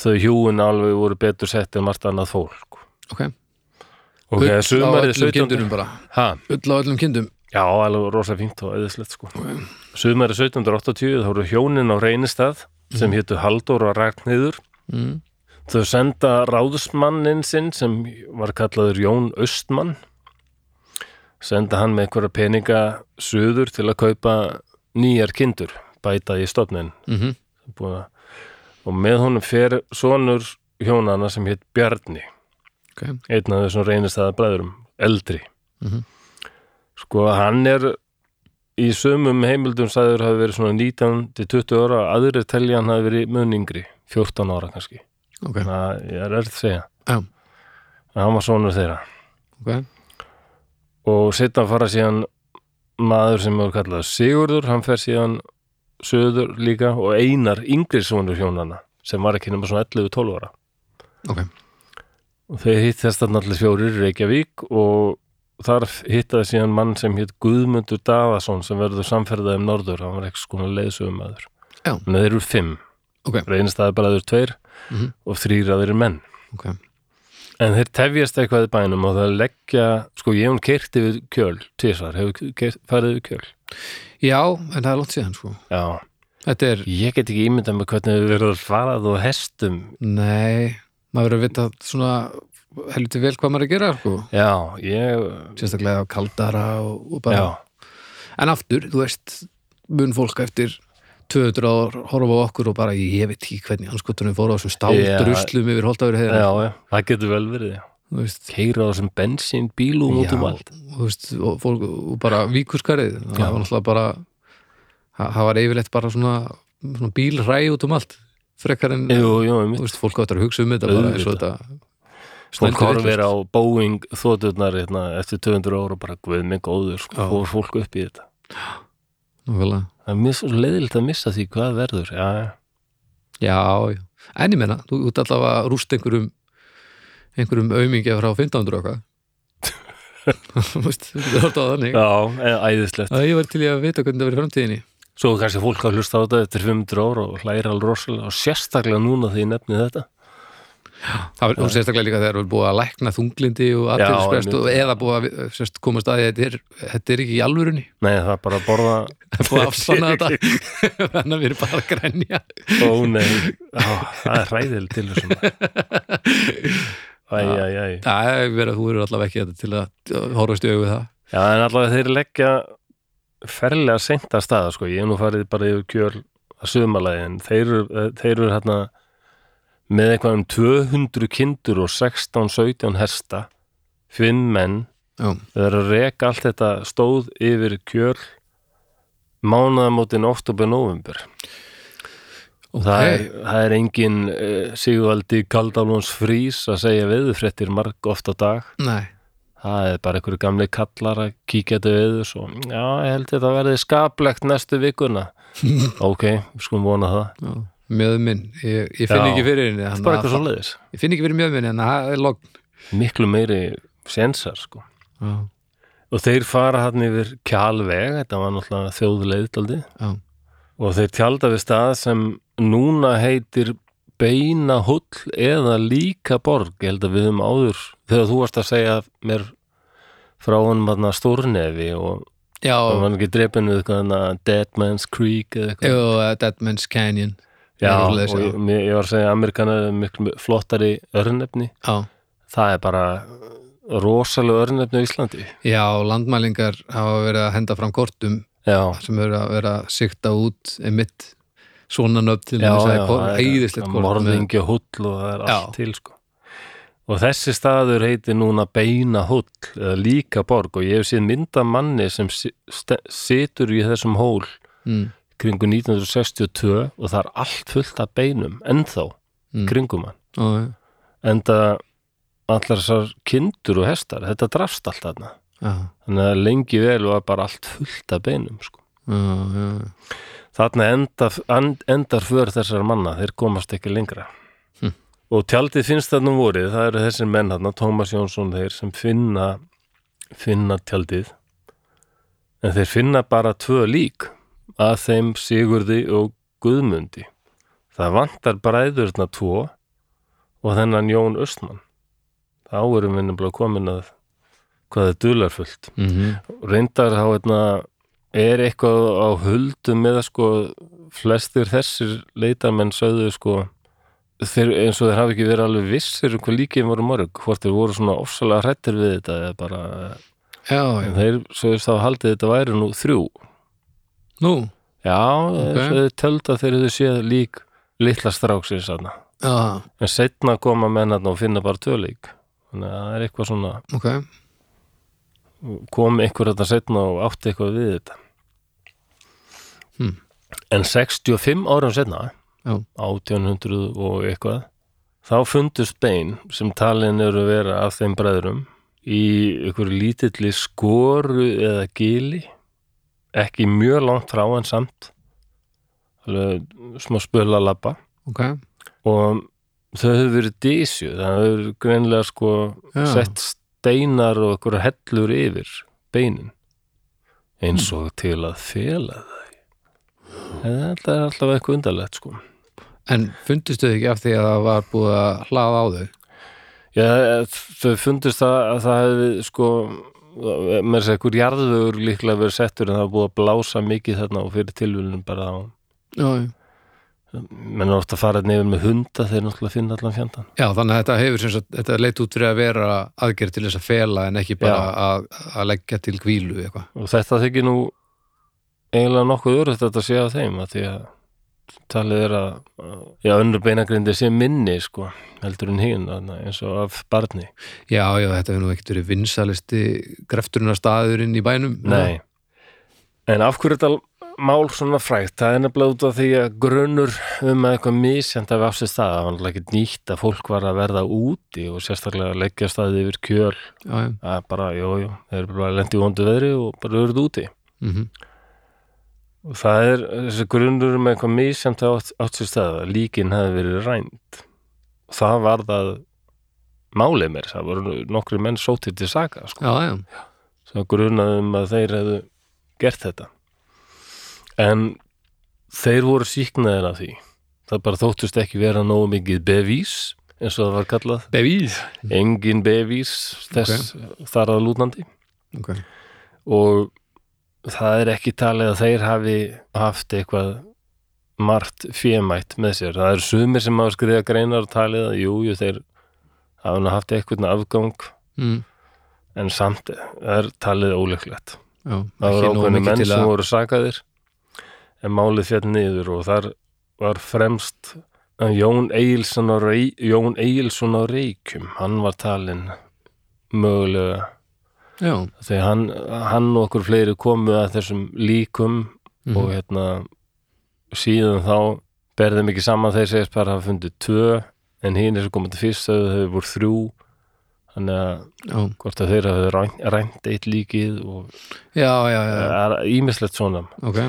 þau hjúin alveg voru betur sett en margt annað fólk. sko.
ok,
Ok,
Ull á
sumarið
öllum
17.
kindunum bara
Ha,
ull á öllum kindum
já, alveg rosa fínt og eðislegt sko. Sumarið 1780 þá voru hjónin á reynistað sem hétu Halldór og Ragnhýður.
mm.
Þau senda ráðsmannin sinn sem var kallaður Jón Östmann. Senda hann með einhverja peninga suður til að kaupa nýjar kindur, bæta í stofnin.
Mm
búið að og með honum fer sonur hjónana sem hétt Bjarni
ok,
einn af þessum reynistæða bræðurum, eldri
Mhm.
sko hann er í sömum heimildum sagður hafi verið svona 19 til 20 ára aðrir telja hann hafi verið mun yngri 14 ára kannski,
ok,
þannig að ég er erð að segja
Já.
en hann var sonur þeirra
ok
og setna fara síðan maður sem er kallað Sigurður hann fer síðan söður líka og einar yngri sonur hjónana sem var ekki nema svona 11-12 ára
ok,
og þau hittast þarna allir fjórir í Reykjavík og þar hittaði síðan mann sem hitt Guðmundur Daðason sem verður samferðað um Norður, hann var ekki skona leiðsögumæður
Já.
en þeir eru fimm
Ok.
reynistæði bara þeir tveir
Mhm.
og þrýr að þeir eru menn
ok
en þeir tefjast eitthvað í bænum og það leggja sko ég hún keirti við kjöl tísar, hefur keyrt- farið við kjöl
já, en það er lótt síðan sko
já,
þetta er,
ég get ekki ímyndað með hvernig þau verður farað og hestum
nei maður verður að vita svona helviti vel hvað maður er að gera sko
já, ég
sérstaklega kaldara og, og bara
já,
En aftur, þú veist, mun fólk eftir 200 ár horfa á okkur og bara ég veit ekki hvernig anskotunum fór á
Já.
þessum stáldruslum yfir
já,
holtafur heiðar.
já, það getur vel verið já.
Þú veist,
keira á þessum bensín bílum út um allt
og þú veist, og fólk og bara víkuskarið, það
Já.
var náttúrulega bara, það það var yfirleitt bara svona, svona bílræ út um allt, frekar en,
Jú, jú, einmitt.
þú veist, fólk áttur að hugsa um þetta bara eins og þetta
fólk
stendur
horfir
vitlaust.
á Boeing þótturnar hérna, eftir 200 ára og bara guð mig góður, sko,
Já.
fór fólk upp í þetta
Nákvæmlega.
það er mjög svo leiðilegt að missa því hvað verður já, já,
Já, já. En ég menna, þú ert allavega að rústa einhverjum einhverjum aumingja frá 1500 og eitthvað *laughs* Þú veist, það er alltaf þannig
já eða æðislegt
að ég var til í að vita hvernig það verið framtíðinni
svo er kannski fólk að hlusta á þetta eftir 500 ára og hlæra alveg rosalega og sérstaklega núna því ég nefni þetta
Það var og sérstaklega líka þegar það er búið að lækna þunglindi og aðtilsprest
einmitt.
og eða búið að við- sérst, komast að því að þetta er, þetta er ekki í alvörunni
nei, það er bara að borða
Það er búið að afsanna *laughs* þetta þannig að við erum bara að grænja
ó nei, já, það er hræðil til þessum æj, æj, æj
Það er verið að þú eru allavega ekki þetta til að horfast í augu við það
Já, en allavega þeir leggja ferlega seint að staða, sko. Ég hef nú farið bara yfir kjöl að sumalagi, en þeir, eru- þeir eru hérna með eitthvað um 200 kindur og 16-17 hesta, fimm menn,
Já,
þeir eru að reka allt þetta stóð yfir kjöl mánaðamótin oktober-november.
ok,
Það, er, það er engin uh, Sigvaldi Kaldalóns frís að segja veðufréttir marg oft á dag
nei
það er bara einhverju gamli kallar að kíkja þetta við svo, já, ég held þetta verði skaplegt næstu vikuna ok, við skulum vona það
Já, mjöðum minn, ég, ég finn
Já.
ekki fyrir henni
það
þannig
er bara
að
eitthvað svoleiðis,
Ég finn ekki verið mjög minni en það er logn.
miklu meiri sensar, sko,
Já,
og þeir fara hann yfir kjálveg, þetta var náttúrulega þjóðleiðdaldi,
já,
og þeir tjálda við stað sem núna heitir beina hull eða líka borg, ég held að við höfum áður þegar þú varst að segja mér frá honum að stórnefi og
já
hann var ekki drepinu eitthvað þarna Dead Man's Creek eða eitthvað
jú, uh, Dead Man's Canyon.
Já,
Eitthvað
og
svoleiðis,
ég, mér- ég var að segja að Amerikanar er miklu flottari örnefni.
já.
Það er bara rosalega örnefni á Íslandi.
Já, já, landmælingar hafa verið að henda fram kortum
Já,
sem eru að vera að sikta út einmitt svona nöfn til
já,
þess að
já.
það er æðislegt kort.
Morðingi og hull og það er allt
Já.
til, sko. Og þessi staður heitir núna Beina hull eða líka borg og ég hef séð mynda manni sem si- ste- situr í þessum hól
Mm,
kringu 1962 og það er allt fullt af beinum, ennþá,
Mm.
kringum hann.
já, já,
Enda allar þessar kindur og hestar, þetta drafst allt þarna.
já,
þannig að lengi vel var bara allt fullt af beinum sko.
já, já.
þarna enda, and, endar för þessar manna, þeir komast ekki lengra
Hm.
og tjaldið finnst þarna um vorið það eru þessir menn þarna, Tómas Jónsson þeir sem finna finna tjaldið en þeir finna bara tvö lík að þeim Sigurði og Guðmundi. Það vantar bræðurna tvo og þennan Jón Östmann. Þá erum við nefnilega komin að hvað er dularfullt
mm
Mhm. reyndar þá hérna, er eitthvað á huldum með að sko flestir þessir leitarmenn sögðu sko þeir, eins og þeir hafi ekki verið alveg vissir um hvað líkið voru mörg, hvort þeir voru svona ofsalega hrættir við þetta eða bara
Já, já,
en þeir sögðust þá haldið þetta væri nú þrjú
nú
já,
Ok.
okay. þeir töldu að þeir hefðu séð lík litla stráksins þarna
Já,
en setna koma menn þarna og finna bara tvö lík þannig að það er eitthvað svona
ok
kom einhver þetta setna og átti eitthvað við þetta
Hmm.
en 65 árum setna
Já.
1800 og eitthvað þá fundust bein sem talin eru að vera af þeim bræðurum í einhverju lítilli skoru eða gili ekki mjög langt frá en samt alveg smá spöla labba
Ok,
og þau hefur verið dísju það hefur greinlega sko
Já.
sett steinar og einhverja hellur yfir beinin eins og til að fela þau en þetta er alltaf eitthvað undarlegt sko
en fundistu þau ekki af því að það var búið að hlaða á þau?
Já, þau fundust það að það hefði sko með þess að einhver jarðvegur líklega verið settur en það var búið að blása mikið þarna og fyrir tilvölinu bara á
Já, já
menn er ofta að fara nefn með hunda þeir náttúrulega finna allan fjandann
Já, þannig að þetta hefur sem sagt, þetta leit út fyrir að vera aðgerð til þess að fela en ekki bara
Já.
að, að leggja til kvílu eitthvað.
og þetta þykir nú eiginlega nokkuð örugt að þetta sé af þeim að því að talið er að já, önnur beinagrindi sé minni sko, heldur en hinn þarna, eins og af barni
Já, já, þetta hefur nú ekkert verið vinsalisti grefturinn staðurinn í bænum.
Nei, en af hverju þetta mál svona frægt, það er nefnilega út af því að grunur um að eitthvað misjandi af afsist það, það var náttúrulega ekki nýtt að fólk var að verða úti og sérstaklega að leggja staðið yfir kjöl
Já, já.
að bara, jú, jú, þeir eru bara lendi í vondu veðri og bara verið úti
Mm
og það er þessi grunnur með eitthvað misjæmt átt, átt sér stað að líkin hefði verið rænt og það var það málið mér, það voru nokkri menn sóttir til saka, sko,
Já, já.
sem grunaðum að þeir hefðu gert þetta en þeir voru síknaðir af því það bara þóttust ekki vera nógu mikið bevís, eins og það var kallað
Bevís.
engin bevís þess þar að lútandi
Ok.
og það er ekki talið að þeir hafi haft eitthvað margt fémætt með sér. Það eru sumir sem hafa skriðað greinar og talið að jú, jú, þeir hafa nú haft eitthvað afgang
Mm.
en samt er talið ólöklegt.
Já,
Það
ekki
voru
nógu
ákveðni
mikið
menn
til
sem
að...
voru sakaðir en málið fjall niður og þar var fremst að Jón Egilson á, Rey, Jón Egilson á Reykjum, hann var talin mögulega
Já,
þegar hann, hann og okkur fleiri komu að þessum líkum
Mhm.
og hérna síðan þá berðum ekki saman þeir segjast bara að hafa fundið tvö en hinn er sem komið til fyrst þau hefur voru þrjú þannig að
já.
hvort að þeir hafa rænt, rænt eitt líkið og
Já, já, já. já.
það er ímislegt svona
Ok.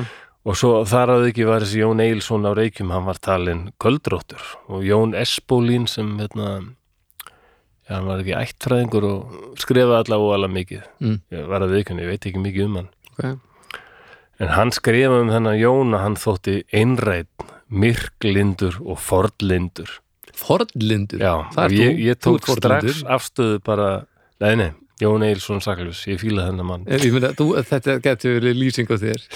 og svo þar að ekki var þessi Jón Eilsson á Reykjum hann var talin köldróttur og Jón Espólín sem hérna Já, hann var ekki ættfræðingur og skrifaði allavega alveg mikið.
Mm.
Ég var að viðkunni, ég veit ekki mikið um hann.
Ok.
En hann skrifa um þennan Jón að hann þótti einrætt, myrklindur og forlindur.
Fornlindur.
Já,
það er
og
þú.
ég, ég
Þú
tók
ert fornlindur.
strax afstöðu bara, nei, nei, Jón Eilsson saklus, ég fíla þennan mann.
Eh, Ég meina, þú, þetta getur verið lýsing á þér.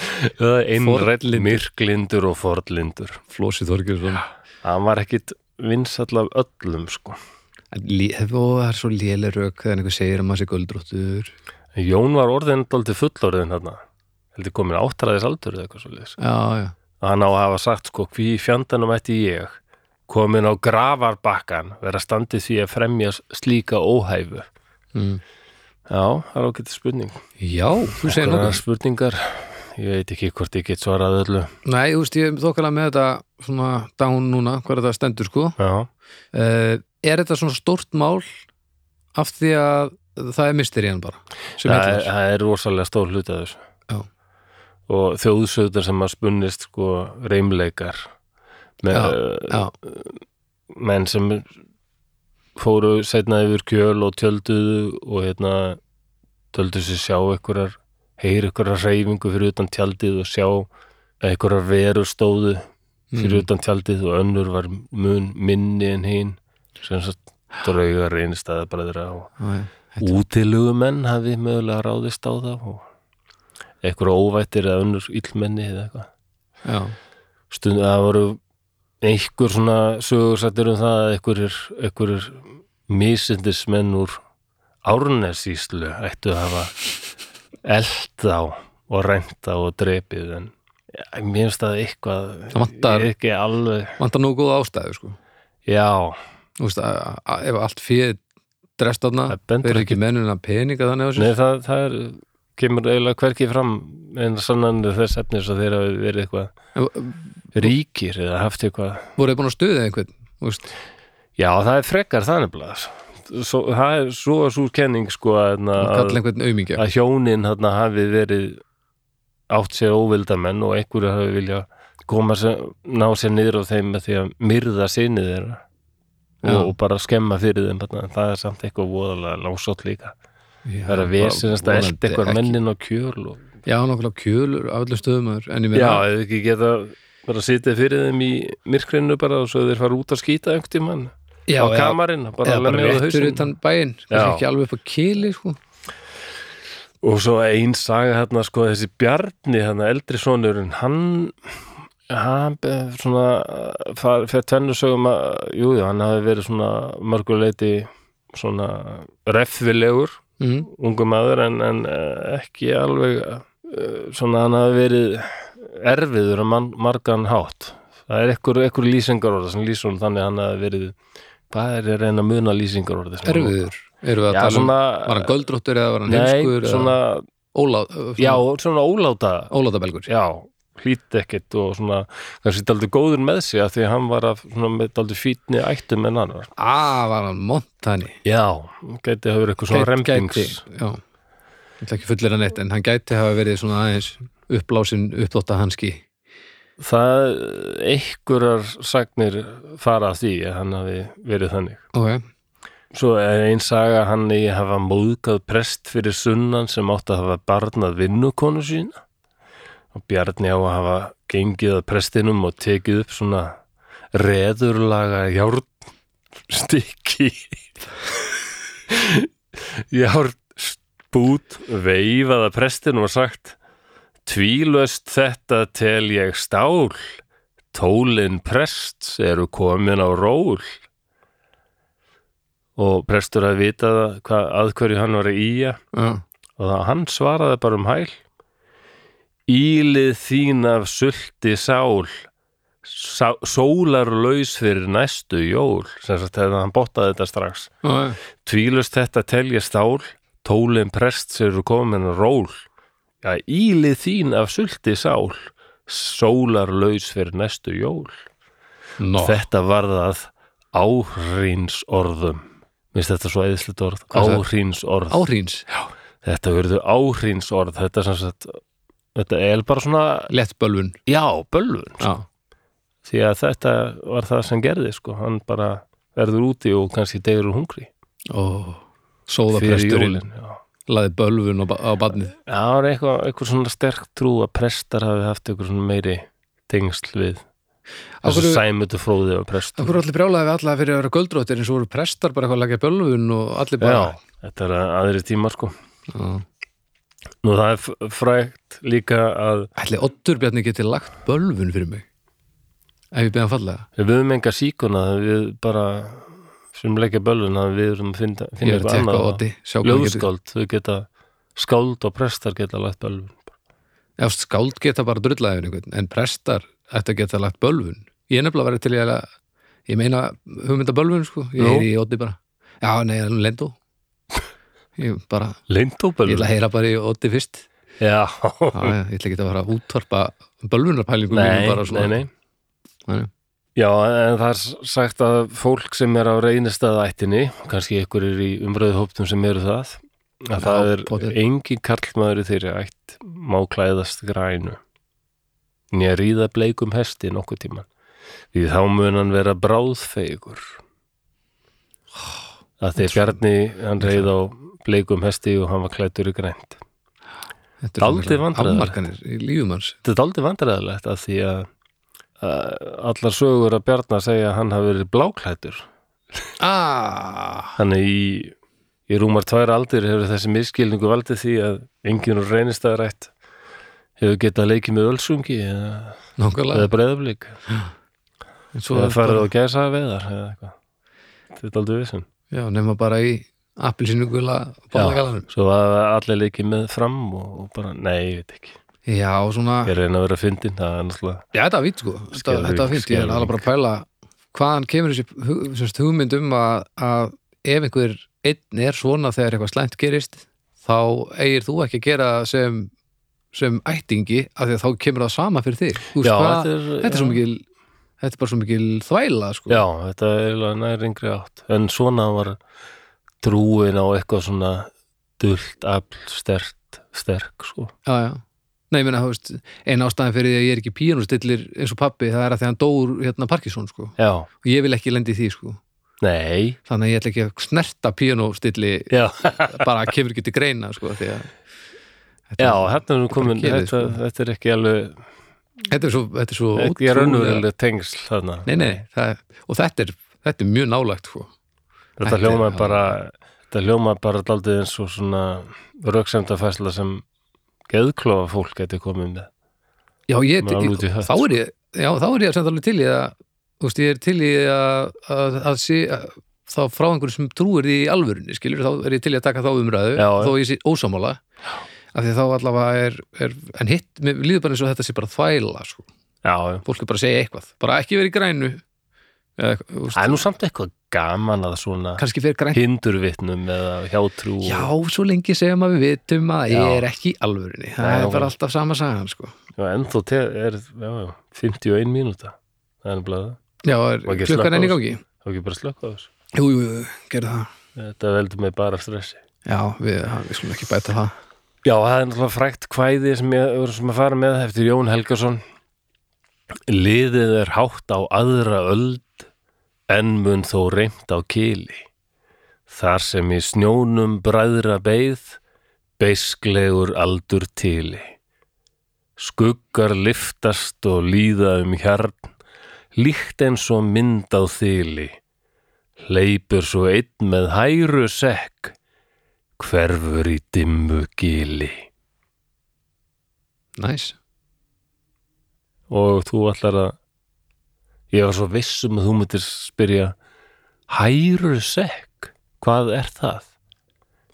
Einrætt,
Fornlindur.
myrklindur og forlindur.
Flósi Þorgjursson.
Hann var ekkit vinsall af öllum, sko.
Og það er svo léleg rök þegar einhver segir að maður sé guldróttur.
Jón var orðin daldið fullorðin þarna. Heldur komin áttræðis aldur eða eitthvað svo liðis.
Já, já.
Hann á að hafa sagt sko hví í fjandanum ætti ég komin á gravarbakkan vera standið því að fremja slíka óhæfu.
Mm.
Já, það er ágætið spurning.
Já, þú segir
Einhverjar
nokkuð.
spurningar, ég veit ekki hvort ég get svarað öllu.
Nei, þú veist, ég er þokkalega með þetta svona dán núna, hvað þetta stendur sko
Já,
uh, Er þetta svona stórt mál af því að það er mysterían bara sem
það er,
heitir
það er rosalega stór hluti af þessu.
Já.
Og þjóðsöðar sem að spunnist sko reymleikar með
Já,
menn sem fóru setna yfir kjöl og tjölduðu og hérna töldu sér sjá einhverjar heyra ykkur reyfingu fyrir utan tjaldið og sjá að ykkur veru stóðu fyrir utan tjaldið og önnur var mun minni en hinn sem sagt draugar einstæða bræðra og
já, já. Þetta-
útilugumenn hafi mögulega ráðist á það og eitthvað óvættir eða önnur illmenni eða eitthvað
já,
stund það voru einhver svona sögursættir um það að einhverjir, einhverjir misindismenn úr Árnesíslu ættu að hafa eld á og rænt á og drepið en ja, mér finnst það eitthvað
Það vantar-
ekki alveg
vantar nógu góða ástæðu sko
já,
Þú veist, að, að, ef allt fyrir drest þarna,
Það bendir
verður ekki mennuna peninga þannig á sér
nei það, það er kemur eiginlega hverki fram en sannanir þess efnis að þeir hafi verið eitthvað
En
ríkir eða haft eitthvað
voru þið búin að stuða einhvern þú veist,
já það er frekar það nefnilega svo, það er svo súr kenning sko að,
að
að,
kalla einhvern aumingja
að hjónin þarna hafi verið átt sér óvildamenn og einhverju hafi vilja koma sér, ná sér niður á þeim með því að myrða sinni þeirra
Já.
og, og bara skemma fyrir þeim þarna. það er samt eitthvað voðalega lásótt líka það er að vesinast að elda einhver mennin á kjöl og
já, nákvæmlega kjölur af öllum stöðum maður, en ég meina
Já, eða ekki geta bara sitið fyrir þeim í myrkrinu bara og svo þeir fara út að skýta einhvern tímann
já,
á
eða-
kamarinn, bara
eða
alveg
bara
með á
réttur
hausinn
utan bæinn
Já.
kannski ekki alveg upp á kili sko.
og svo ein saga hérna sko þessi Bjarni, hérna eldri sonurinn hann hann be- svona far, fer tvennu sögum að, jú, jú, hann hafi verið svona mörguleiti svona reffilegur
mm.
ungu maður en, en eh, ekki alveg eh, svona hann hafi verið erfiður að man, margan hátt það er ekkur, ekkur lýsingarorða sem lýsum þannig að hann hafi verið hvað er ég að reyna að muna lýsingarorði sem hann notar?
erfiður eru við að
Já,
tala um,
svona,
var hann göldróttur eða var hann
nei,
heimskur
svona, já,
eða
svona óláta
ólátabelgur
já, hlýtt ekkert og svona, kannski daldi góður með sig af því að hann var af, svona, með daldi fítni ættum en hann var.
að var hann montani
Já, gæti hafa verið eitthvað svona
Gæti-
rempings.
gæti, já ég ætla ekki fullir að neitt en hann gæti hafa verið svona aðeins uppblásin uppdóta hanski
Það einhverjar sagnir fara að því að hann hafi verið þannig.
ok,
Svo er ein saga að hann eigi að hafa móðgað prest fyrir sunnan sem átti að hafa barnað vinnukonu sína og Bjarni á að hafa gengið að prestinum og tekið upp svona reðurlaga járnstykki *laughs* járnspút veifað að prestinum og sagt tvílöst þetta tel ég stál tólin prests eru komin á ról og prestur að vita hvað, að hverju hann var að íja
já,
og það, hann svaraði bara um hæl Ílið þín af sulti sál sá, sólar laus fyrir næstu jól sem sagt hefði hann bottaði þetta strax
já,
Tvílust þetta telja stál tólin prests eru komin að ról Já, ílið þín af sulti sál sólar laus fyrir næstu jól
no
Þetta var það áhrínsorðum. Minnst þetta svo eðislut orð?
Hvað er það?
Áhrínsorð.
áhrýns,
Þetta verður áhrínsorð. Þetta er sem sagt, þetta er bara svona,
lettbölvun
já, bölvun.
já,
Því að þetta var það sem gerði, sko. Hann bara verður úti og kannski degur úr hungri.
ó sóðapresturinn
jólin, já.
laði bölvun á, ba- á badnið
Það var eitthvað, eitthvað svona sterk trú að prestar hafi haft eitthvað svona meiri tengsl við. Þessu
hverju-
sæmutu fróði og prestur.
Akkur allir brjálaði við alla fyrir að vera göldróttir eins og voru prestar bara eitthvað að leggja bölvun og allir bara
Já, þetta er aðri tíma, sko.
Já.
Nú það er f- frægt líka að
Ætli Oddur Bjarni geti lagt bölvun fyrir mig ef ég beðið hann fallega
Við höfum enga síkuna, við bara sem leggja bölvun að við erum að finna,
Ég
finna
er að tekka á Oddi sjá hvað hann getur-
Ljóðskáld, þau geta skáld og prestar geta lagt bölvun.
Já, skáld geta bara drullaðið einhvern, en prestar ætti að geta lagt bölvun. Ég er nefnilega verið til í að, ég meina hugmynda bölvun, sko, ég
Nú?
heyri í Oddi bara. Já, nei, hann lendu. Ég bara, ég ætla
Leintúbölvun?
að heyra bara í Oddi fyrst.
Já,
Já, já, ég ætla ekki að fara að útvarpa
Hm.
bölvunarpælingum
nei,
mínum bara
nei,
svona.
nei.
Nei, nei.
Já, en það er sagt að fólk sem er á reynistað ættinni, kannski ykkur er í umröðuhóptum sem eru það, að
Já,
það er
pottet.
engin karlmaður í þeirri ætt má klæðast grænu. Nýja ríða bleikum hesti nokkuð tíman. Því þá mun hann vera bráðfegur. Það þegar Bjarni, hann reyð á bleikum hesti og hann var klættur í grænt.
Þetta er
Dálítið
svona
vandræðalegt.
afmarkanir í lífum hans
Þetta er aldrei vandræðilegt að því að að allar sögur að Bjarnar segja að hann hafi verið bláklættur
ah,
þannig í, í rúmar tvær aldir hefur þessi miskilningu valdið því að enginn úr reynistæðarætt hefur getað leikið með ölsungi eða,
Nákvæmlega
eða breyðablík
En svo
eða
er
farið á
bara-
gæsa veðar eða eitthvað þetta er aldrei vissun
Já, nema bara í appilsinugula bólagalanum
svo að allir leikið með fram og, og bara, nei, ég veit ekki
Já, svona
ég reyna að vera fyndin, það er náttúrulega
Já, þetta var fínt sko, þetta,
Skelfing,
þetta var fínt, ég er alveg bara að pæla hvaðan kemur þessi hug, sérst, hugmynd um að, að ef einhver einn er svona þegar eitthvað slæmt gerist þá eigir þú ekki að gera sem, sem ættingi af því að þá kemur það sama fyrir þig Þú veist,
Já,
hvað,
þetta
þetta,
er-
er, svo
já.
mikil þetta er bara svo mikil þvæla sko.
Já, þetta er eiginlega nær yngri átt en svona var trúin á eitthvað svona dult, afl, stert, sterk sko.
já, já. Nei, ég meina, þú veist, ein ástæðan fyrir því að ég er ekki píanustillir eins og pappi, það er að því að hann dór hérna Parkinson, sko,
Já,
og ég vil ekki lendi því, sko,
nei
þannig að ég ætla ekki að snerta *laughs* píanustilli
Já,
bara kemur ekki til greina sko, því að þetta,
já hérna erum við komin
Bara
þetta,
kemur, sko.
þetta er ekki alveg
þetta er svo, þetta er svo
ekki
ótrúlega-
raunverulega tengsl þarna
nei, nei, það, og þetta er, þetta er mjög nálægt sko.
Þetta
Þetta er-
hljóma
já.
bara þetta hljóma bara daldið eins og svona röksemdafæsla sem geðklofa fólk geti komið með
já, ég,
Maður alveg út í
ég,
hött,
þá er ég já, þá er ég samt alveg til í að þú veist, ég er til í að, að, að sé að, þá frá einhverju sem trúir því í alvörunni, skilur, þá er ég til í að taka þá umræðu
Já, já.
þó ég sé ósamála af því að þá allavega er, er en hitt, mér líður bara eins og þetta sé bara þvæla sko.
Já, já.
fólk er bara að segja eitthvað, bara ekki verið í grænu eða, eitthvað, þú veist,
það er nú samt eitthvað gaman að svona
kannski fyrir græn
hindurvitnum eða hjátrú og-
Já, svo lengi sem að við vitum að
Já.
ég er ekki í alvörunni. Það
Nei,
er
já.
bara alltaf sama sagan, sko.
Já, ennþá te- er já, já, 51 mínúta Það er nefnilega það,
Já, er,
Og ekki
klukkan
slökka á
enn í
þessu.
gangi.
þá ekki bara slökka á þessu
Jú, jú, jú, gerðu það.
Þetta veldur mig bara stressi
Já, við, ha, við skulum ekki bæta það.
Já, það er náttúrulega frækt kvæði sem ég voru sem að fara með eftir Jón Helgason Liðið er hátt á aðra öld en mun þó reymt á kili Þar sem í snjónum bræðra beið beisklegur aldur tili Skuggar liftast og líða um hjarn líkt eins og mynd á þili Hleypur svo einn með hæru sekk hverfur í dimmu gili
Næs.
og þú ætlar að ég var svo viss um að þú myndir spyrja hæru sekk, hvað er það?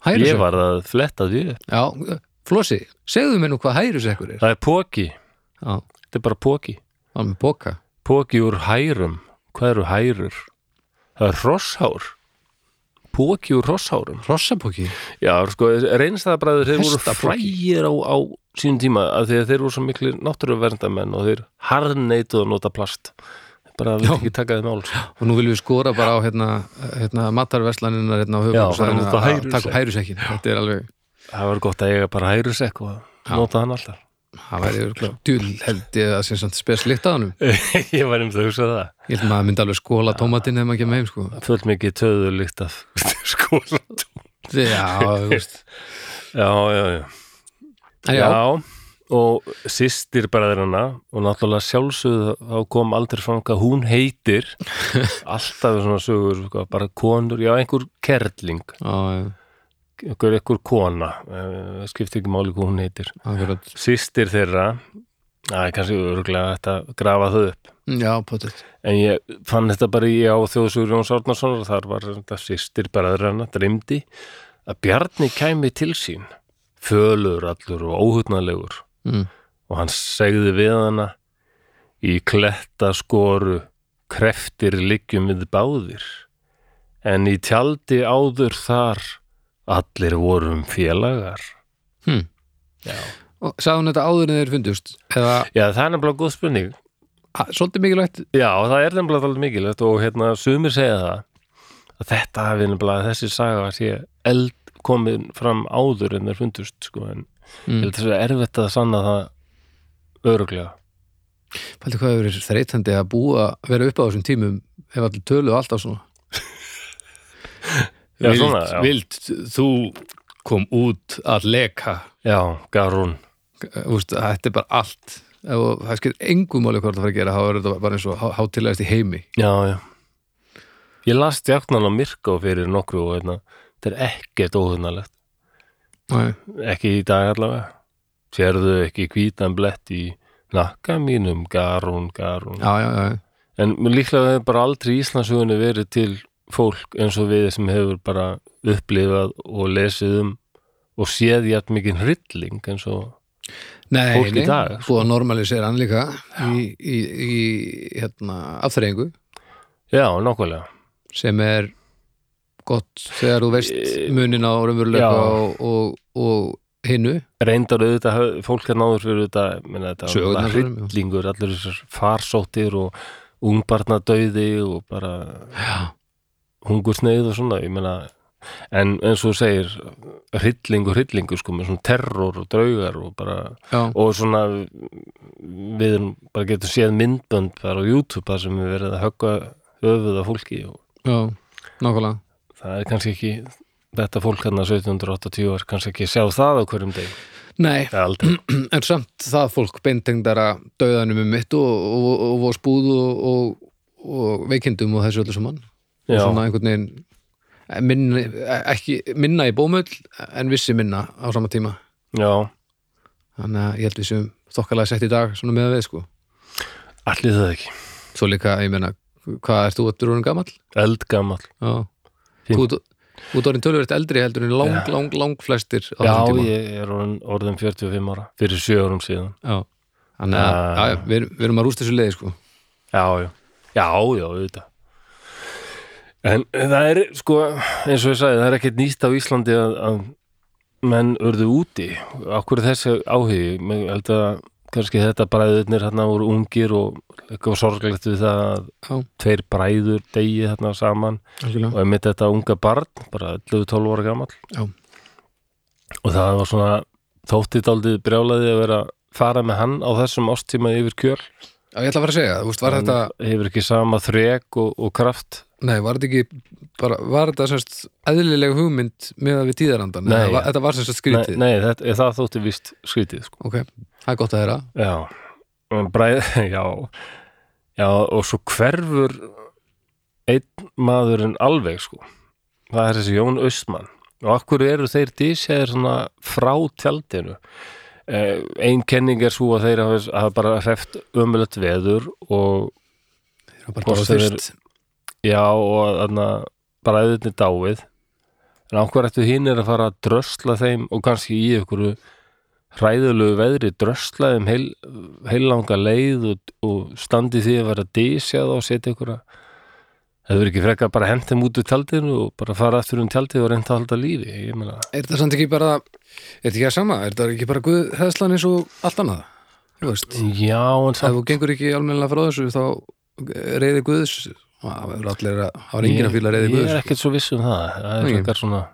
Hærusekkur.
ég var að fletta því upp.
Já, Flossi, segðu mér nú hvað hærusekkur er.
það er póki,
Já, það
þetta er bara póki
var með boka.
póki úr hærum, hvað eru hærur? það er hrosshár póki úr hrosshárum
Rossapóki.
já, sko, reynstaðabræður þeir voru
Hestapóki.
frægir á, á sínum tíma af því að þeir voru svo miklu náttúruverndamenn og þeir harðneituð að nota plast bara að við ekki taka þeim áls
Og nú viljum við skora bara á hérna, hérna matarverslaninnar hérna á höfum.
Já, það er nú þetta hærusekk.
Takk hærusekkin. Þetta er alveg,
Það var gott að eiga bara hærusekk og nota hann alltaf.
það væri örgulega djúl held ég að sem samt spes líkt að honum.
*laughs* ég var um það að hugsa það.
Ég held maður myndi alveg skóla tómatinn ef maður kemur heim, sko.
Fullt mikið töðu líkt af *laughs* skóla.
Já, þú
*laughs*
veist.
Já, já, já.
En já,
og sýstir bræðirana og náttúrulega sjálfsögðu þá kom aldrei fram hvað hún *laughs* heitir. Alltaf er svona sögur, sko, bara konur, já, einhver kerling,
Já, já,
einhver, einhver kona, eh, það skiptir ekki máli hvað hún heitir.
akkurat
Sýstir þeirra, það er kannski örgulega að grafa þau upp.
Já, potið
En ég fann þetta bara í á þjóðsugur Jóns Árnasonar, þar var þetta sýstir bræðrana, dreymdi að Bjarni kæmi til sín fölur allur og óhutnalegur
mm.
og hann segði við hana í kletta skoru kreftir liggjum við báðir en í tjaldi áður þar allir vorum félagar
hm. Og sagði hún þetta áður en þeir fundust Eða,
Já, það er nefnilega góð spurning
að, svolítið mikilvægt
Já, það er nefnilega alveg mikilvægt og hérna sumir segja það að þetta hafi nefnilega þessi saga sé eld komin fram áður en þeir fundust sko en ég
Mm.
held þess að erfitt að sanna það öruglega
Fældi hvað hefur verið þreytandi að búa vera upp á þessum tímum ef allir
*laughs*
tölu alltaf svona
Já, svona, já.
vild, þú kom út að leka
já, garún
Úst, þetta er bara allt og það skil engum máli hvað það fara að gera þá er þetta bara eins og hátilegast í heimi
Já, já. Ég las stjáknan á Myrká fyrir nokkru og hérna, þetta er ekkert óhugnalegt.
Nei.
Ekki í dag allavega. Sérðu ekki hvítan blett í nakka mínum, garún, garún.
já, já, já,
En mér líklega hefur bara aldrei í Íslandsugunni verið til fólk eins og við sem hefur bara upplifað og lesið um og séð jætt mikið hrylling eins og
nei,
Fólk í
nei,
dag, sko.
búið að normalisera hann líka í, í, í hérna, afþreyingu
já, nákvæmlega
sem er gott þegar þú veist
Eh,
munin á raunveruleika
já.
og, og, og hinnu
reyndar auðvitað höf- fólk er náður fyrir þetta, minna, þetta var
Sögurnar
bara
svo sem, já.
hryllingur, allir þessar farsóttir og ungbarnadauði og bara
já,
hungursneið og svona, ég meina en eins og þú segir hryllingur, hryllingur sko, með svona terror og draugar og bara,
já,
og svona við erum bara getur séð myndbönd bara á YouTube þar sem við verið að höggva höfuð af fólki og
já nákvæmlega
það er kannski ekki þetta fólk hérna 1780 var kannski ekki að sjá það á hverjum deg,
Nei,
aldrei
en samt það fólk beintengdara döðanum um mitt og, og, og, og spúð og, og, og veikindum og þessu öllu saman og
Já.
svona einhvern veginn eh, minna, eh, ekki, minna í bómull en vissi minna á sama tíma
Já,
þannig að ég held við séum þokkalega sett í dag svona með að við sko
allir það ekki
svo líka, ég meina, hvað ert þú að drúin gamall?
eldgamall
Já,
Fín.
þú ert- þú ert orðin tölvöld eldri heldur en lang, lang, lang flestir á
Já,
þessum tíma
ég er orðin, orðin 45 ára fyrir sjö árum síðan
Já. Þannig að,
Já.
já, já, við, erum- við erum að rústa þessu leiði sko
Já, já, já, já, auðvitað En það er sko, eins og ég sagði, það er ekkert nýst á Íslandi að, að menn urðu úti Akkur þessi áhugi, Mér held að kannski þetta bræðurnir hérna voru ungir og eitthvað sorglegt við það að
Já,
tveir bræður degi þarna saman
algjörlega
og einmitt þetta unga barn, bara 11-12 ára gamall
Já.
og það var svona þóttið daldið brjálaði að vera fara með hann á þessum ástíma yfir kjöl
Já, ég ætla að fara að segja, þú veist, var þetta
Hann hefur ekki sama þrek og, og kraft
Nei, var þetta ekki bara, var þetta semst eðlilega hugmynd með að við tíðarandan?
Nei.
Eða var, þetta var semst að
nei,
skrítið?
nei, þetta, eh, það þótti vist skrítið sko.
Ok, það er gott að heyra.
já, En bræð, *laughs* já já, og svo hverfur einn maðurinn alveg sko. það er þessi Jón Östmann og akkur eru þeir dísæðir svona frá tjaldinu eh, ein kenning er svo að þeir hafa, hafa bara hreft ömulegt veður og
Það er bara
Hvort
bara
sem
þurft.
Já, og þarna bræðinni dáið en ákvar eftir hinn er að fara að drösla þeim og kannski í einhverju hræðulegu veðri drösla þeim heil, heillanga leið og, og standi því að vera dísjað og setja einhverja það verður ekki frekar bara hent þeim út úr tjaldinu og bara fara aftur um tjaldið og reynda að halda lífi ég meina,
Er þetta samt ekki bara, er þetta ekki að sama? Er þetta ekki bara guðhæðslan eins og allt annað? Þú veist,
já, en
ef
samt
þú gengur ekki almennilega frá þessu, þá reyði guðs, það verður allir að, það var enginn að fýla reyði
ég, ég
guðs.
er ekkert svo viss um það það er
Nei.
frekar svona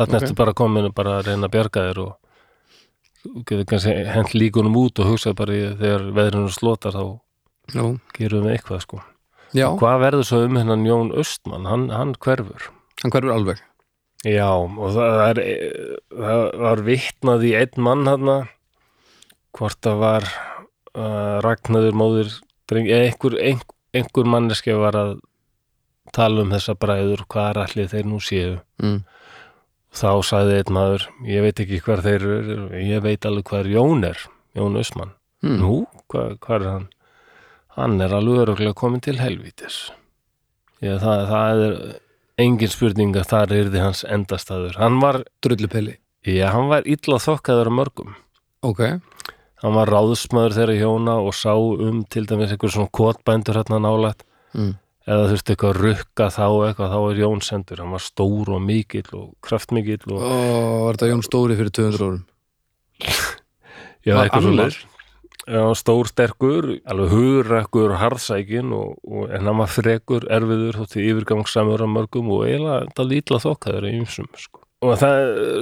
þarna
Ok.
ertu bara komin og bara að reyna að bjarga þér og þú getur kannski hent líkunum út og hugsa bara í, þegar veðrinu slotar þá
Já,
gerum við eitthvað sko
já,
hvað verður svo um hennan Jón Östmann hann, hann hverfur
hann hverfur alveg.
já og það, það, er, eh, það var vitnað í einn mann hann hvort það var uh, Ragnadur móðir dreng, eða einhver, einhver, einhver manneski var að tala um þessa bræður hvað er allir þeir nú séu
Mm.
Þá sagði einn maður, ég veit ekki hver þeir eru, ég veit alveg hver Jón er, Jón Ösmann.
Mm.
Nú, hvað, hvað er hann? Hann er alveg öruglega komin til helvítis. Já, það, það er engin spurning að þar yrði hans endastæður. Hann var,
Drullupeli.
já, hann var illa þokkaður á mörgum.
Ok,
Hann var ráðsmaður þeirra hjóna og sá um til dæmis einhver svona kotbændur hérna nálægt.
mm.
Eða þurfti eitthvað að rukka þá eitthvað, þá er Jón sendur. Hann var stór og mikill og kraftmikill og...
og var þetta Jón Stóri fyrir 200 árum?
Já,
Var
eitthvað svo
annar?
Já, stór sterkur, alveg hugrakkur harðsækin og, og en hann var frekur, erfiður, þótti yfirgangsamur á mörgum og eiginlega það lítla þokkaður í ymsum, sko. Og það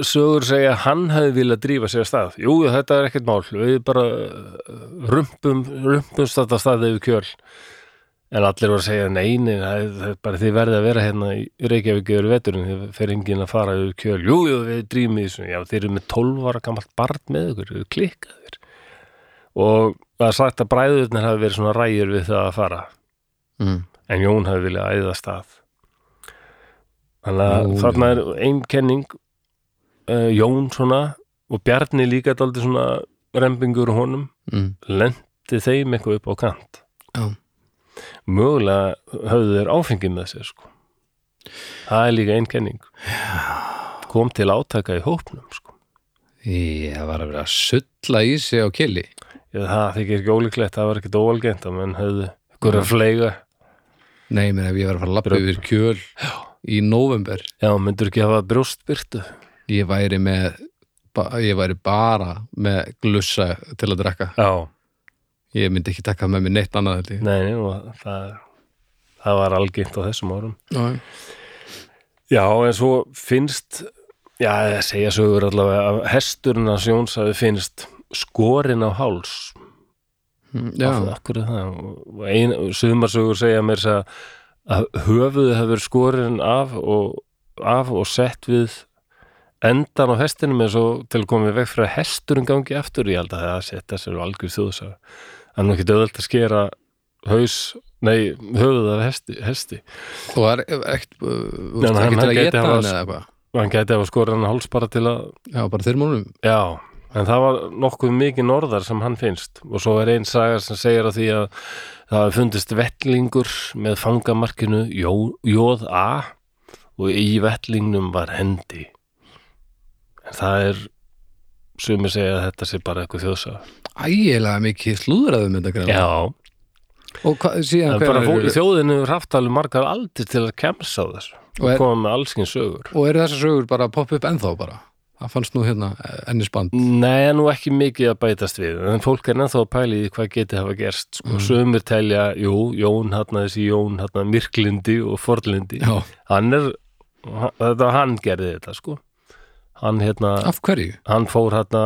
sögur segja að hann hefði viljað drífa sér af stað. Jú, þetta er ekkert mál, við bara eh, rumpum, rumpumst þetta af stað yfir kjöl. En allir voru að segja, nei, nei, það er- það er bara þið verðið að vera hérna í Reykjavík yfir veturinn, þið fer enginn að fara yfir kjöl, jú, jú, við drýmum í þessu, já, þið eru með 12 ára gamalt barn með ykkur, þið eru klikkaðir. Og það er sagt að bræðurnir hafi verið svona rægjur við það að fara,
mm.
en Jón hafi viljað æða stað. Þannig að
Nú,
þarna er ein kenning, uh, Jón svona, og Bjarni líka dálítið svona rembingur á honum,
Mm.
lendi þeim eitthvað upp á kant
Já.
mögulega höfðu þeir áfengið með sér sko. það er líka einkenning kom til átaka í hópnum sko.
Í, það var að vera að sulla í sig á kili
Ég, það þykir ekki ólíklegt, það var ekkit óalgent að menn höfðu ykkur að fleiga
Nei, menn ef ég var að fara að lappa
Brjóta.
yfir kjöl í november
já, myndur ekki hafa brjóstbyrtu
ég væri með ba- ég væri bara með glussa til að drekka
já,
ég myndi ekki taka með mér neitt annað held ég.
nei, nei og það, það var algengt á þessum árum
Já,
já, en svo finnst já, það segja sögur allavega að hesturinn að Jóns hafi finnst skorinn á háls
Mm, já.
Af- af hverju það? Og Ein, sumarsögur segja mér þess að, að höfuðu hefur skorinn af og, af og sett við endan á hestinum eins og til að koma við veg fyrir að hesturinn gangi aftur ég held að það setja sér algjör þjóðsaga það er nú ekki döðvöld að skera haus, nei, höfuð af hesti, hesti.
og það er ekkert uh, þú
Nei,
veist,
nei,
ekki
hann
til að
gæti
geta
hafa-
hann eða eitthvað
og hann gæti hafa skorinn háls bara til að
já, bara þeir múlum
Já, en það var nokkuð mikið norðar sem hann finnst og svo er einn saga sem segir að því að það hafi fundist vettlingur með fangamarkinu Jó- Jóð A og í vettlingnum var hendi en það er sumir segja að þetta sé bara eitthvað þjóðsa
ægilega mikið slúðraðum þetta greina
Já,
og hva, síðan
en bara
hvenær
fólk,
eru-
þjóðinu hefur haft alveg margar aldir til að kemsa á þessu
Og
og
er-
koma með allskins sögur
og eru þessar sögur bara að poppa upp ennþá bara það fannst nú hérna eh, ennisband
Nei, en nú ekki mikið að bætast við en fólk er ennþá að pæla í því hvað geti hafa gerst sko. sömur telja, jú, Jón hann þessi Jón hann Myrklindi og Forlindi,
já,
hann er hann- þetta hann gerði þetta sko hann hérna,
af hverju?
hann fór hérna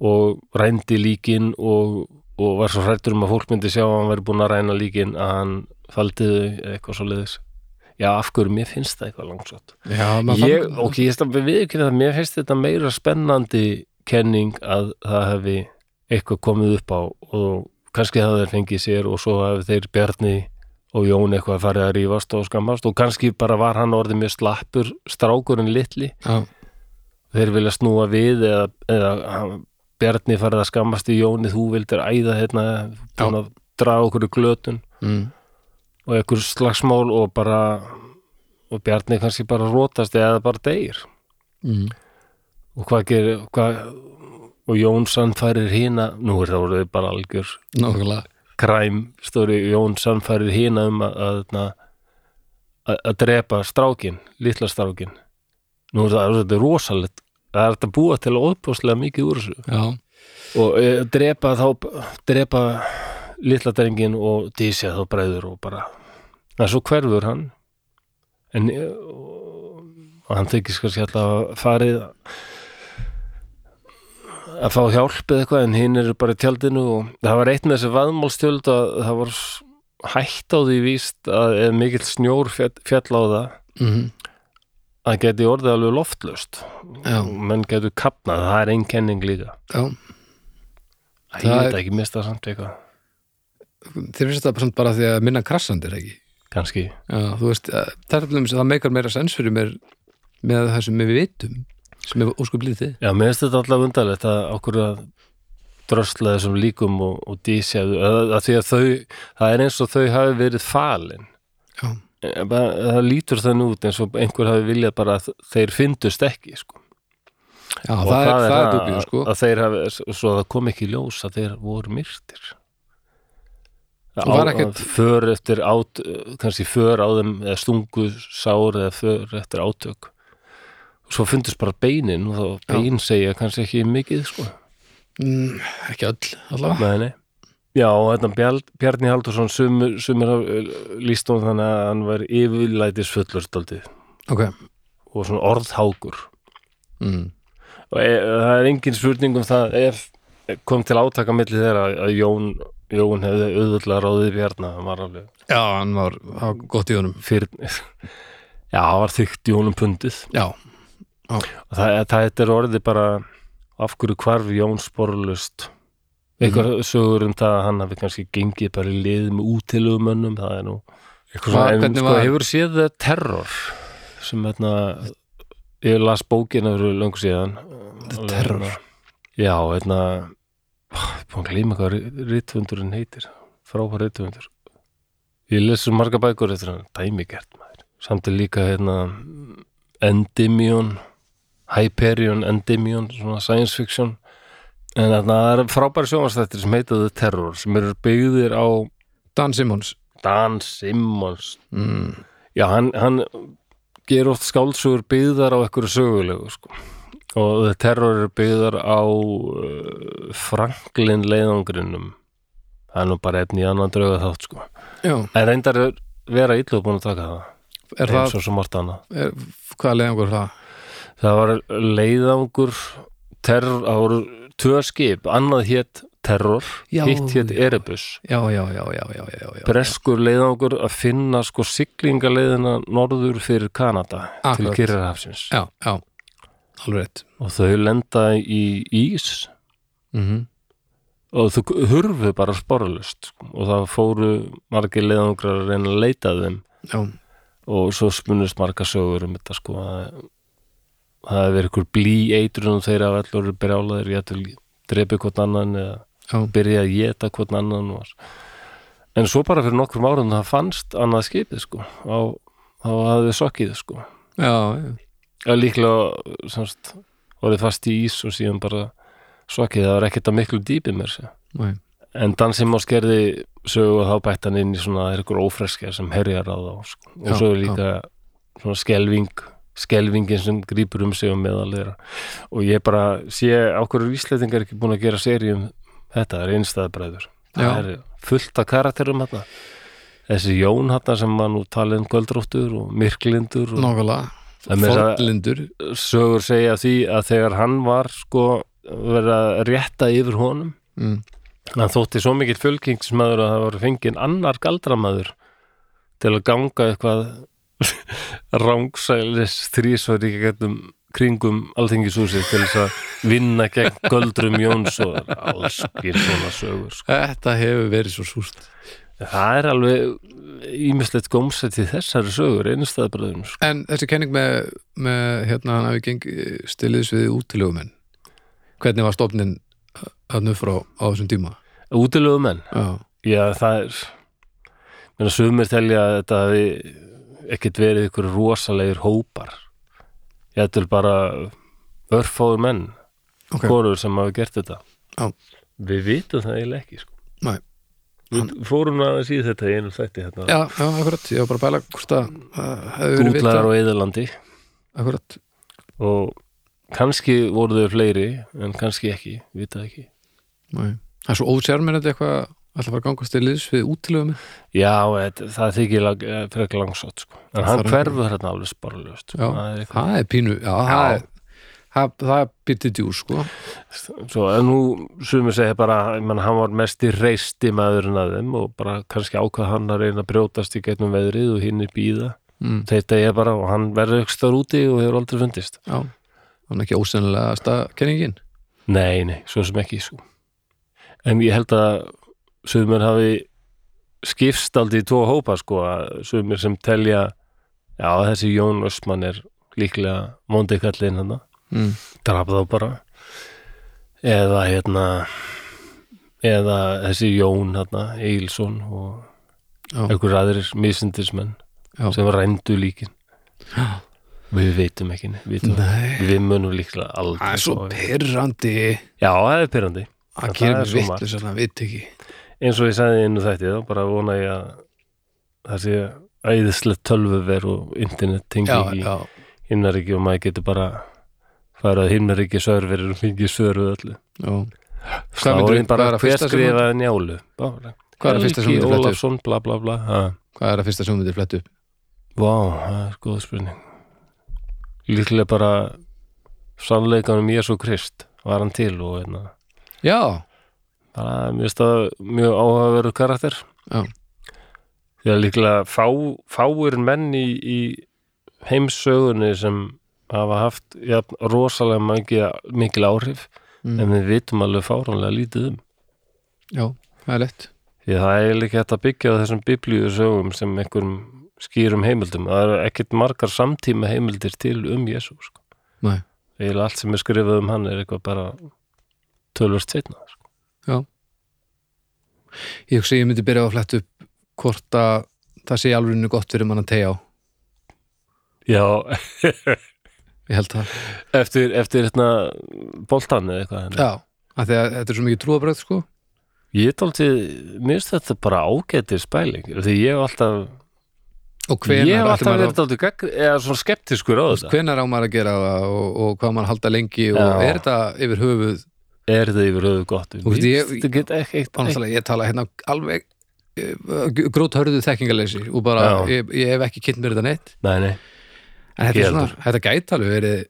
og rændi líkin og, og var svo hrættur um að fólk myndi sjá að hann væri búin að ræna líkin að hann faldiði eitthvað svo leiðis Já, af hverju, mér finnst það eitthvað langsótt
Já, maður
ég,
fann-
ok, ég stað við ekki það mér finnst þetta meira spennandi kenning að það hefði eitthvað komið upp á og kannski það þeir fengið sér og svo hefði þeir Bjarni og Jón eitthvað farið að rífast og skammast og kannski bara var hann orðið mjög slappur strákurinn litli,
já,
þeir vilja snúa við eða, eða hann- Bjarni farið að skammast í Jóni, þú vildir æða hérna,
Já.
búin að draga okkur í glötun
mm,
og eitthvað slagsmál og bara og Bjarni kannski bara rótast eða bara deyr
mm,
og hvað gerir hvað, og Jónsson færir hina nú er það voruð bara algjör
nákvæmlega
kræm stóri Jónsson færir hina um að að, þarna- að, að drepa strákin, litla strákin nú er það, þetta er rosalegt það er þetta að búa til óbúslega mikið úr þessu
já,
og e, drepa þá drepa litla drengin og dísja þá bræður og bara en svo hverfur hann en e, og, og hann þykist kannski alltaf farið að fá hjálp eða eitthvað en hinn eru bara í tjaldinu og það var eitt með þessi vaðmálstjöld að það var s- hætt á því víst að ef mikill snjór fjall, fjall á það
mm,
að geti orðið alveg loftlaust
já,
og menn getur kapnað, það er ein kenning líka
já
Æ,
Það
ég
er-
veit ekki mista samt eitthvað
þeir finnst þetta samt bara því að minna krassandir ekki
kannski
já, þú veist, eh, það er alveg það meikar meira sens fyrir mér með það sem við vitum sem er óskup lítið
Já, mér finnst þetta alltaf undarlegt að okkur að drösla þessum líkum og, og dísjaðu, að, að því að þau það er eins og þau hafi verið falin
já,
Eh, bara, það lítur þannig út eins og einhver hafi viljað bara að þeir fyndust ekki sko.
já það, er, það er dubið sko
að, að þeir hafi, svo að það kom ekki í ljós að þeir voru myrtir
Og var ekkert-
að för eftir át, kannski för á þeim eða stungu sár eða för eftir átök og svo fundust bara beinin og þá
Já.
bein segja kannski ekki mikið sko
mm, ekki öll allavega
Nei, nei. Já, og þetta Bjarl, Bjarni Haldursson sumur, sumur líst hún eh, þannig að hann var yfirlætis fullur stóldið
ok,
og svona orðhákur
mm,
og e, það er engin spurning um það ef kom til átaka milli þeirra að Jón Jón hefði auðvitað ráðið bjarna, hann var alveg
Já, hann var, hann var gott í honum
fyrir, já, hann var þykkt Jónum pundið
Já,
og það, það þetta er orðið bara af hverju hvarf Jón sporlust einhver sögur um það að hann hafi kannski gengið bara í lið með útilögumönnum það er nú
Hvað-
en
hvernig
sko
var-
hefur séð það terror sem hérna ég las bókina fyrir löngu síðan The
Terror?
já, hérna ég er búin að gleyma hvað rithundurinn heitir frábær rithundur ég les svo marga bækur eftir hann dæmigert maður samt er líka hérna Endymion Hyperion, Endymion, svona science fiction en þarna er frábæri sjónvastættir sem heita The Terror sem eru byggðir á
Dan Simmons
Dan Simmons
mm.
já, hann, hann ger oft skálsugur byggðar á einhverju sögulegu sko. og The Terror eru byggðar á uh, Franklin leiðangrinum það er nú bara efni í annan drauga þátt sko.
Já,
en reyndar er vera illu búin að taka það
er það,
eins og svo margt annað
er, hvað Eh, leiðangur er það?
það var leiðangur terror, það voru tvö skip annað hétt terror
Já.
hitt hétt Erebus
Já, já, já, já, já, já, já.
breskur leiðangur að finna sko siglingaleiðina norður fyrir Kanada
Akkurat.
til Kyrrahafsins
Já, já, alveg rétt
og þau lenda í ís
mm
og þau hurfu bara sporlust og það fóru margir leiðangrar að reyna að leita að þeim
Já,
og svo spunnust marga sögur um þetta sko að það hefur verið ykkur blí eitrunum um þeirra af allur brjálaðir, ég ætla drepi hvort annan eða
já,
byrja að geta hvort annan var. en svo bara fyrir nokkrum árum það fannst annað skipið sko á, þá hafði sokkið sko
já, já.
að líklega semst, orðið fast í ís og síðan bara sokkið, það var ekkert að miklu dýpi mér sé.
Nei.
en Dan Simmons gerði sögu og þá bætt hann inn í svona það er ykkur ófreskja sem herjar á þá sko. og
Já,
svo er líka svona skelving skelvingin sem grípur um sig og meðal þeirra og ég bara sé á hverju Íslendingar ekki búin að gera seríum þetta það er einstæðbræður það
Já.
er fullt af karakterum hérna þessi Jón hérna sem var nú talin kvöldróttur og myrklindur og
Nákvæmlega
En meira-
Fornlindur
sögur segja því að þegar hann var sko verið að rétta yfir honum
mm.
hann þótti svo mikill fölkingsmaður að það var fenginn annar galdramaður til að ganga eitthvað *laughs* rángsælis þrísvar í gegnum kringum alþingishúsið til þess að vinna gegn göldrum Jóns og allskir svona sögur sko.
Þetta hefur verið svo súst
það er alveg ímislegt gómsætt í þessari sögur einstæðabröðum sko.
En þessi kenning með, með hérna hann hafi geng stiliðs við útilegumenn Hvernig var stofnin hann upp frá á þessum tíma?
sko. útilegu menn
Já,
Já, það er menn að sumir telja að þetta hafi ekkert verið ykkur rosalegir hópar ég ætlur bara örfáður menn
ok
hvorur sem hafi gert þetta
Já.
Við vitum það eiginlega ekki sko.
Nei.
Við fórum aðeins í þetta í einum þætti hérna.
Já, já, akkurat, ég var bara að bæla hvort að uh, hefur verið
Útlagar
vita
á Eðalandi
Akkurat,
og kannski voru þau fleiri en kannski ekki, vitað ekki
Nei. það er svo ósjármennandi eitthvað að ætla að fara að ganga stiliðs við útilegumenn
Já, þetta, það þykir lag, eh, frekar langsótt sko. en hann
þarf ekki-
hverfur hérna alveg sparlust
Já, það er pínu Já, það er Það, það er bitið djús, sko
Svo en nú sumir segja bara, ég menn, hann var mest í reisti maðurinn að þeim og bara kannski ákvað hann að reyna að brjótast í gegnum veðrið og hinn er býða.
mm.
Þetta er bara, og hann verður ykkur stór úti og hefur aldrei fundist.
Já, hann er ekki ósennilega staðkenningin
Nei, nei, svo sem ekki, sko. En ég held að sumir hafi skipst aldrei í tvo hópa, sko, að sumir sem telja, já, þessi Jón Ösmann er líklega vondi kallinn hann
mm.
draf þá bara eða hérna eða þessi Jón hérna, Eilsson og
Já.
einhver aðrir misindismenn
Já.
sem rændu líkin
Já.
við veitum ekki neitt, vitum, það.
Nei,
við munum líklega
það
aldrei
er svo
fá-
pyrrandi
já, það er pyrrandi
að
Það
gera
er
mér
svo
vitlu sem það veit ekki
eins og ég sagði innu þetta þá bara vona ég að það sé æðislegt tölvuver og internet tengi
Já,
í
já,
himnaríki og maður getur bara farið að himnaríki sörverir og fengið svöruð öllu
já Hvað myndirðu-
Sláðin
hvað er
bara
að
hver
fyrsta sem þú-
skrifaði njálu Bara.
Hvað er að fyrsta sem þú
Helgi
myndir fletta upp?
Ólafsson, bla bla bla ha.
Hvað er að fyrsta sem þú myndir flett upp?
Vá, það er góð spurning Líklega bara sannleikanum Jésu Krist var hann til og einna
Já,
Þannig að hérna, mér finnst það mjög áhugaverður karakter.
Já.
Því að líklega fá, fáir menn í, í heimsögunni sem hafa haft ja, rosalega mikil, mikil áhrif
Mm.
en við vitum alveg fáránlega lítið um.
já, það er lett
Því að það er líka hægt að byggja á þessum biblíusögum sem einhverjum skýrum heimildum. Það eru ekkit margar samtíma heimildir til um Jésu. Sko.
Nei.
Eða allt sem er skrifað um hann er eitthvað bara tölvöld setna. Sko.
ég hugsa að ég myndi byrja á að fletta upp hvort að það sé alveg gott fyrir mann að tegja á
Já, *laughs*
ég held það,
eftir, eftir hérna boltan eða eitthvað henni.
já, af því að þetta er svo mikið trúabröð sko,
Ég tólti, mér finnst þetta bara ágættir spæling, því ég hef alltaf
og hvenar
ég hef
ætli
alltaf
maður
verið tólti gegn, eða svona skeptiskur á
á,
þetta.
hvenar á maður að gera það og, og hvað maður halda lengi og
Já.
er þetta yfir höfuð
Er þetta yfir höfu gott? um
Þú veist, ég-
Þetta get ekki,
og
ekki,
náttúrulega ég tala hérna alveg eh, gróthörðu þekkingarleysi og bara
Já.
ég, ég hef ekki kynnt mér þetta neitt
nei, nei,
en þetta,
Ég
er svona, þetta gæti alveg verið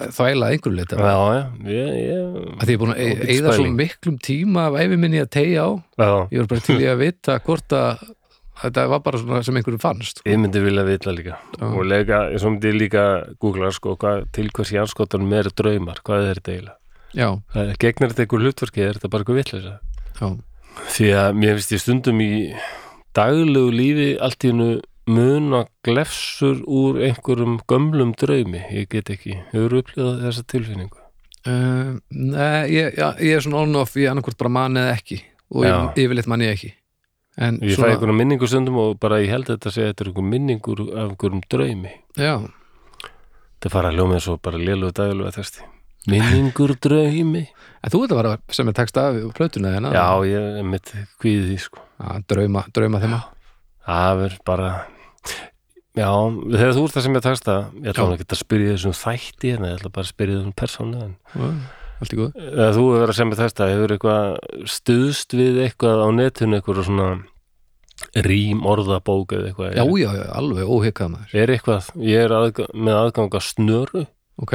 þvæla að einhverju leita
já, já, ég, ég,
að því ég er búin
Ágætis
að eigða svo
pæling.
miklum tíma af æfi minni að tegja á
já,
ég var bara til í að vita hvort að þetta var bara svona sem einhverjum fannst
ég myndi vilja vita líka.
Já.
Og leika, ég svo myndi ég líka googla, sko, hvað, til hvers í anskotanum er draumar, hvað er þetta eiginlega?
já,
Hvað- Gegnar þetta einhver hlutverki, er þetta bara eitthvað vitleisa?
já,
Því að mér finnst ég stundum í daglegu lífi allt í hennu muna glefsur úr einhverjum gömlum draumi. Ég get ekki, hefur upplifað þessa tilfinningu.
uh, nei, ég, já, ég er svona on off ég annarkvort bara mann eða ekki og
Já.
ég, yfirleitt mann ég ekki en
Ég fæ
svona,
einhverjum minningu stundum og bara ég held að þetta sé að þetta er einhver minningur af einhverjum draumi.
já,
Þetta fara að hljóma eins og bara lélugu daglega þesti. Minningur draumi.
en þú veit að vera sem er tekst af plötuna þeirna
Já, ég er mitt kvíðið því sko.
drauma, drauma þeim
Það er bara... Já, þegar þú ert það sem ég takst það, ég ætla
Já.
hann ekki að spyrja þessum þætti en ég ætla bara að spyrja þessum persónu en
allt í góð
Eða þú hefur verið að segja með þetta, hefur eitthvað stuðst við eitthvað á netinu, eitthvað svona rím orðabók eða eitthvað.
já, já, já, alveg óhikað maður
Er eitthvað, ég er aðga, með aðganga snöru,
ok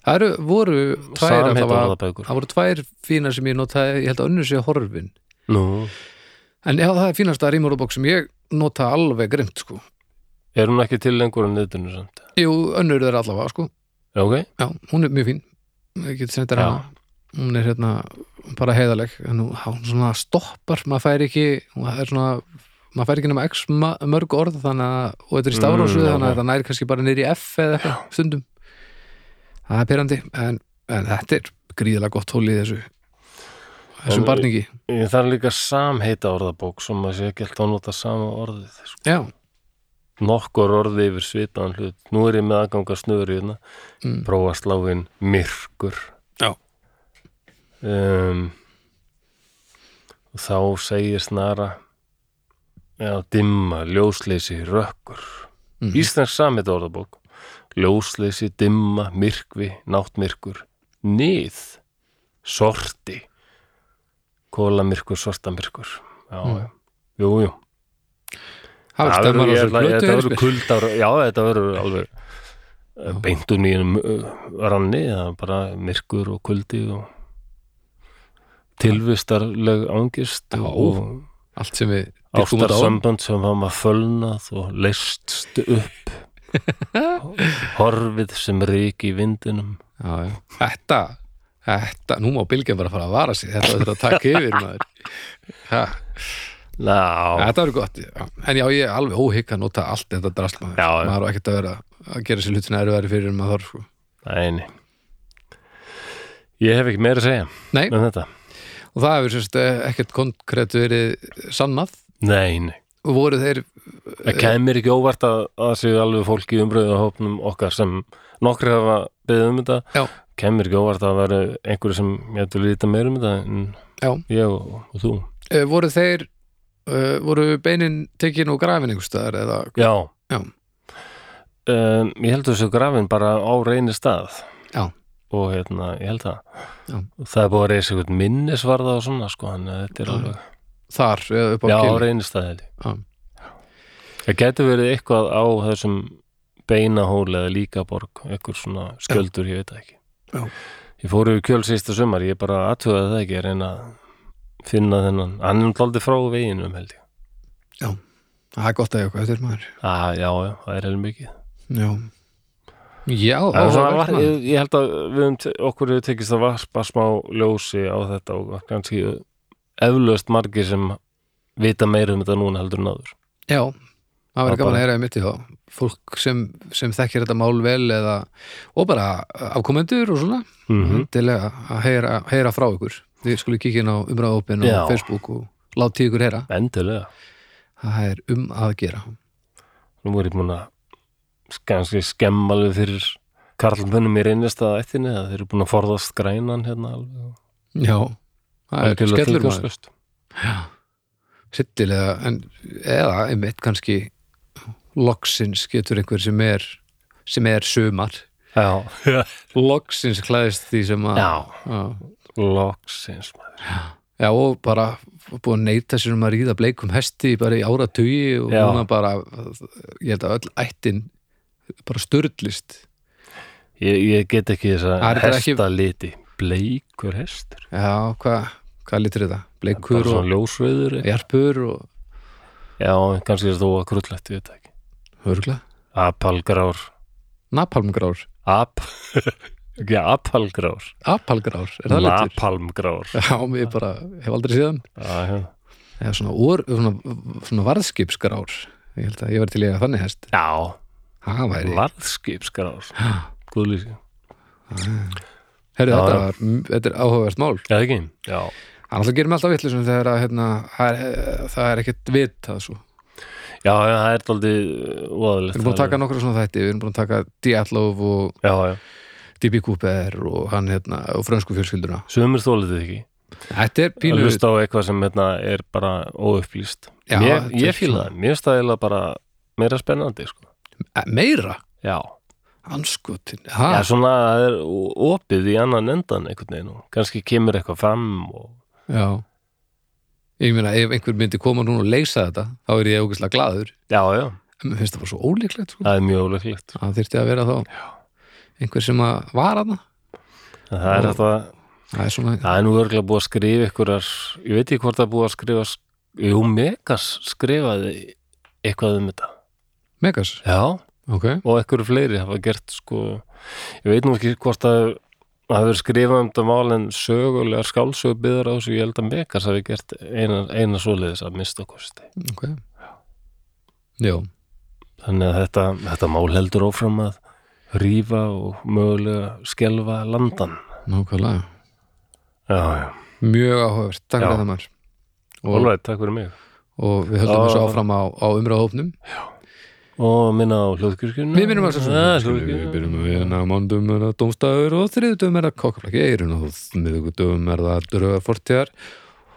það eru, voru tvær
samheit
allavega-
orðabækur.
það voru tvær fínar sem ég notaði ég held að önnur sé horfin
Nú,
en já, það er fínasta rímurubók sem ég nota alveg grimt sko
er hún ekki til lengur á netinu samt?
Jú, önnur er allavega sko
Já, Ok,
Já, hún er mjög fín Ég get sendt þér
Já.
hana Hún er hérna bara heiðaleg en hún, hún svona stoppar, maður fær ekki hún er svona, maður fær ekki nema x ma- mörg orð þannig að, og þetta er í stafrósu
Mm, já,
þannig að
já.
þetta næri kannski bara niður í F eða eitthvað stundum Það er perandi en, en þetta er gríðilega gott hól í þessu
En-
þessum barningi
ég þarf líka samheita orðabók sem að sé ekki alltaf að nota sama orðið. Sko.
Já,
Nokkur orði yfir svipaðan hlut. Nú er ég með aðganga snöru hérna,
Mm.
prófa að slá inn myrkur.
Já.
um, og þá segir snara já, dimma, ljósleysi, rökkur
Mhm.
Íslensk samið orðabók ljósleysi, dimma, myrkvi náttmyrkur, nið sorti kólamyrkur, sortamyrkur já,
Mm.
já, jú, jú
það var stemmar á
ég
þessu
ætla-
plötu
þetta verður
Elísabet.
kuldar já, þetta verður alveg beintun í einum uh, ranni eða bara myrkur og kuldi og tilvistarleg angist
Já.
og
Allt sem við dyrkum út á
ástarsambönd sem var maður fölnað og leist
*laughs*
upp horfið sem rík í vindinum
já, já. Þetta, þetta, nú má Bilgen bara fara að vara sig, þetta verður að taka yfir maður. Ha,
Ná,
þetta verður gott, já. en já, ég er alveg óhygg að nota allt þetta drast maður,
Já, já.
maður á ekkert að vera að gera sér hlutina erfæri fyrir en maður þarf, sko.
næni Ég hef ekki meira að segja
Nei,
um þetta
og það hefur sérst ekkert konkrétt verið sannað
Nei, nei,
og voru þeir,
það kemur ekki óvart að að séu alveg fólk í umbröðahópnum okkar sem nokkri hafa beðið um þetta
Já.
kemur ekki óvart að vera einhverju sem ég ætla að líta meira um þetta en
já,
ég og, og þú
eh, voru þeir, uh, voru beinin tekin og grafin einhvers staðar eða,
Já,
Já.
Um, Ég held þessu grafin bara á reyni stað
Já.
og hérna, ég held það
Já.
það er búið að reysa einhvern minnisvarða og svona sko, þannig að þetta er
Já.
alveg
þar eða upp á
Já, á
kýli.
reyni stað held ég.
Já.
Það getur verið eitthvað á þessum beinahól eða líkaborg, eitthvað svona skjöldur, ég veit það ekki
Já.
ég fór yfir kjöl sísta sumar, ég bara aðtöðaði það ekki að reyna að finna þennan, hann er aldrei frá veginum held ég.
það er gott að ég eitthvað, þetta er maður
Ah, já, já, það er heilum mikið.
já, já
Það er svona,
áhugavert
var,
maður.
ég, ég held að við höfum, te- okkur hefur tekist að varpa smá ljósi á þetta og kannski eflaust margir sem vita meira um þetta núna heldur en áður.
Já, það
Það
verður gaman
bara-
að heyra í mitt í þá fólk sem, sem þekkir þetta mál vel eða, og bara afkomendur og svona,
Mm
endilega að heyra, heyra frá ykkur við skulum kíkja inn á umræðaopin
Já.
og Facebook og láti ykkur heyra,
Endilega.
það er um að gera
Nú er ég búin að sk- kannski skemma alveg fyrir karlmönnum í reynist að ættinni að þeir eru búin að forðast grænan hérna alveg. og-
Já, það er
algjörlega
skellur maður
tilgangslaust.
sittilega, en eða einmitt kannski loksins getur einhver sem er sem er sumar
Já,
loksins klæðist því sem að
já,
Já.
loksins maður.
Já, og bara búið að neyta sér um að ríða bleikum hesti bara í áratugi og
Já.
núna bara ég held að öll ættin bara störlist
Ég, ég get ekki þess
Það
að
er bara ekki-
hesta liti. Bleikur hestur.
Já, hvað hva litur þetta?
Bara
Bleikur
svona
og
ljósveður.
jarpur og
Já, kannski er þú að krullætt, ég veit það ekki.
hörgla
Apalgrár
Napalmgrár,
Ap *laughs* Ekki apalgrár
apalgrár, er það litur?
Napalmgrár
*laughs* Já, ég bara hef aldrei síðan
Já, já.
Já, svona, or, svona, svona varðskipsgrár ég held að ég var til ég að þannig hest
Já,
Það væri *gasps*
varðskipsgrár Guðlýsi
Herri,
Já,
þetta,
já.
var, þetta er áhugavert mál
Já, ekki? Já,
Hann alltaf gerir mig alltaf vitlisum þegar að hérna, það er- það er ekkert vitað svo
já, já það er uh, daldið
Við
óðalegt
erum búin að taka nokkra svona þætti, við erum búin að taka Dietlov og
Já, já,
D.B. Cooper og hann hérna og frönsku fjölskylduna.
sömur þólið þið ekki
Þetta er
Að
pínu,
hlusta á eitthvað sem hérna, er bara óupplýst
Já,
Mér,
þetta er
Ég fíla
svona-
það, mér stæðilega bara meira spennandi, sko
Eh, meira,
Já,
anskotin,
já
ha,
svona það er o- opið í annan endan einhvern veginn og kannski kemur eitthvað fram og
já. Ég meina, ef einhver myndi koma núna og leysa þetta, þá er ég ógæslega glaður.
Já, já,
En mér finnst það bara svo ólíklegt, sko.
það er mjög óleglegt
Það þyrfti að vera þá einhver sem að var hana.
Það er
Og-
þetta
Það er svona,
Það er nú örgulega búið að skrifa einhverjar, ég veit ekki hvort það er búið að skrifa, jú, Megas skrifaði eitthvað um þetta.
megas,
Já,
ok.
og einhverju fleiri hafa gert, sko, ég veit nú ekki hvort það það hafi verið skrifað um þetta mál en sögulegar skálsögu byður á þessu, ég held að Megas hafi gert eina, eina svoleiðis að mista kosti.
Ok. Já,
Þannig að þetta, þetta mál heldur ófram að rífa og mögulega skelfa landan.
nákvæmlega.
Já, já.
Mjög áhugavert, takk
Já.
fyrir það maður. Og-
All right, takk fyrir mig.
og við höldum
Já.
þessu áfram á, á umræðahópnum
Og minna á hljóðkirkjunum.
Við minnum að þessu Við
hljóðkirkjunum.
byrjum að vinna á mándum er það dómstæður og þriðutum er það kokkaflaki eirun og miðugudum er það dröga fortjar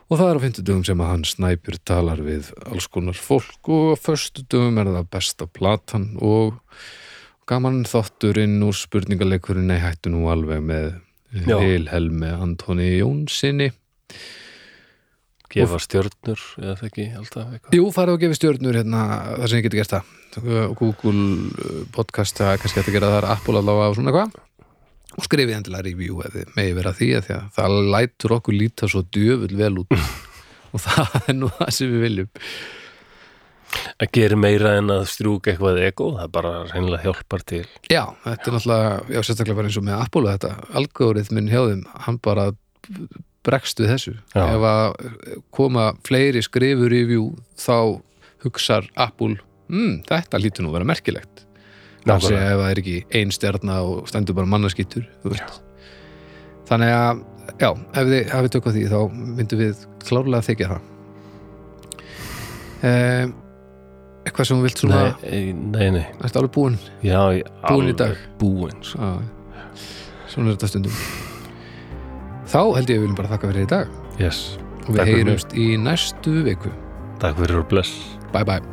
og það er á fimmtudum sem að hann snæpjur talar við alls konar fólk og á föstudum er það besta platan og gaman þátturinn og spurningaleikurinn nei hættu nú alveg með
Já.
Vilhelmi Antoni Jónsinni
gefa stjörnur eða það ekki alltaf eitthvað
Jú, farið og gefið stjórnur hérna þar sem ég geti gert það Google eh, podcast, það er kannski hægt að gera þar Apple allavega og svona eitthvað og skrifið endilega review ef þið megi vera að því að því að það lætur okkur líta svo djöfull vel *laughs* út og það er nú það sem við viljum
að gera meira en að strjúka eitthvað ego það bara reynilega hjálpar til
Já, þetta er náttúrulega, já, sérstaklega bara eins og með Apple og þetta, algoritminn hjá þeim hann bara bregst við þessu
Já.
ef að koma fleiri skrifur review þá hugsar Apple mm, þetta lítur nú að vera merkilegt Þannig að
Nákvæmlega.
ef það er ekki ein stjarna og stendur bara mannaskýtur Þannig að, já, ef þið hafið tök á því þá myndum við klárlega þykja það um, Eitthvað sem þú vilt svona
nei, e- nei, nei
Ertu alveg búin?
já, ég-
Búin í
alveg
dag.
búin sko.
Já, Svona er þetta stundum Þá held ég að við viljum bara þakka fyrir í dag
yes.
og við
Takk fyrir mig.
heyrumst í næstu viku
takk fyrir og bless
Bye bye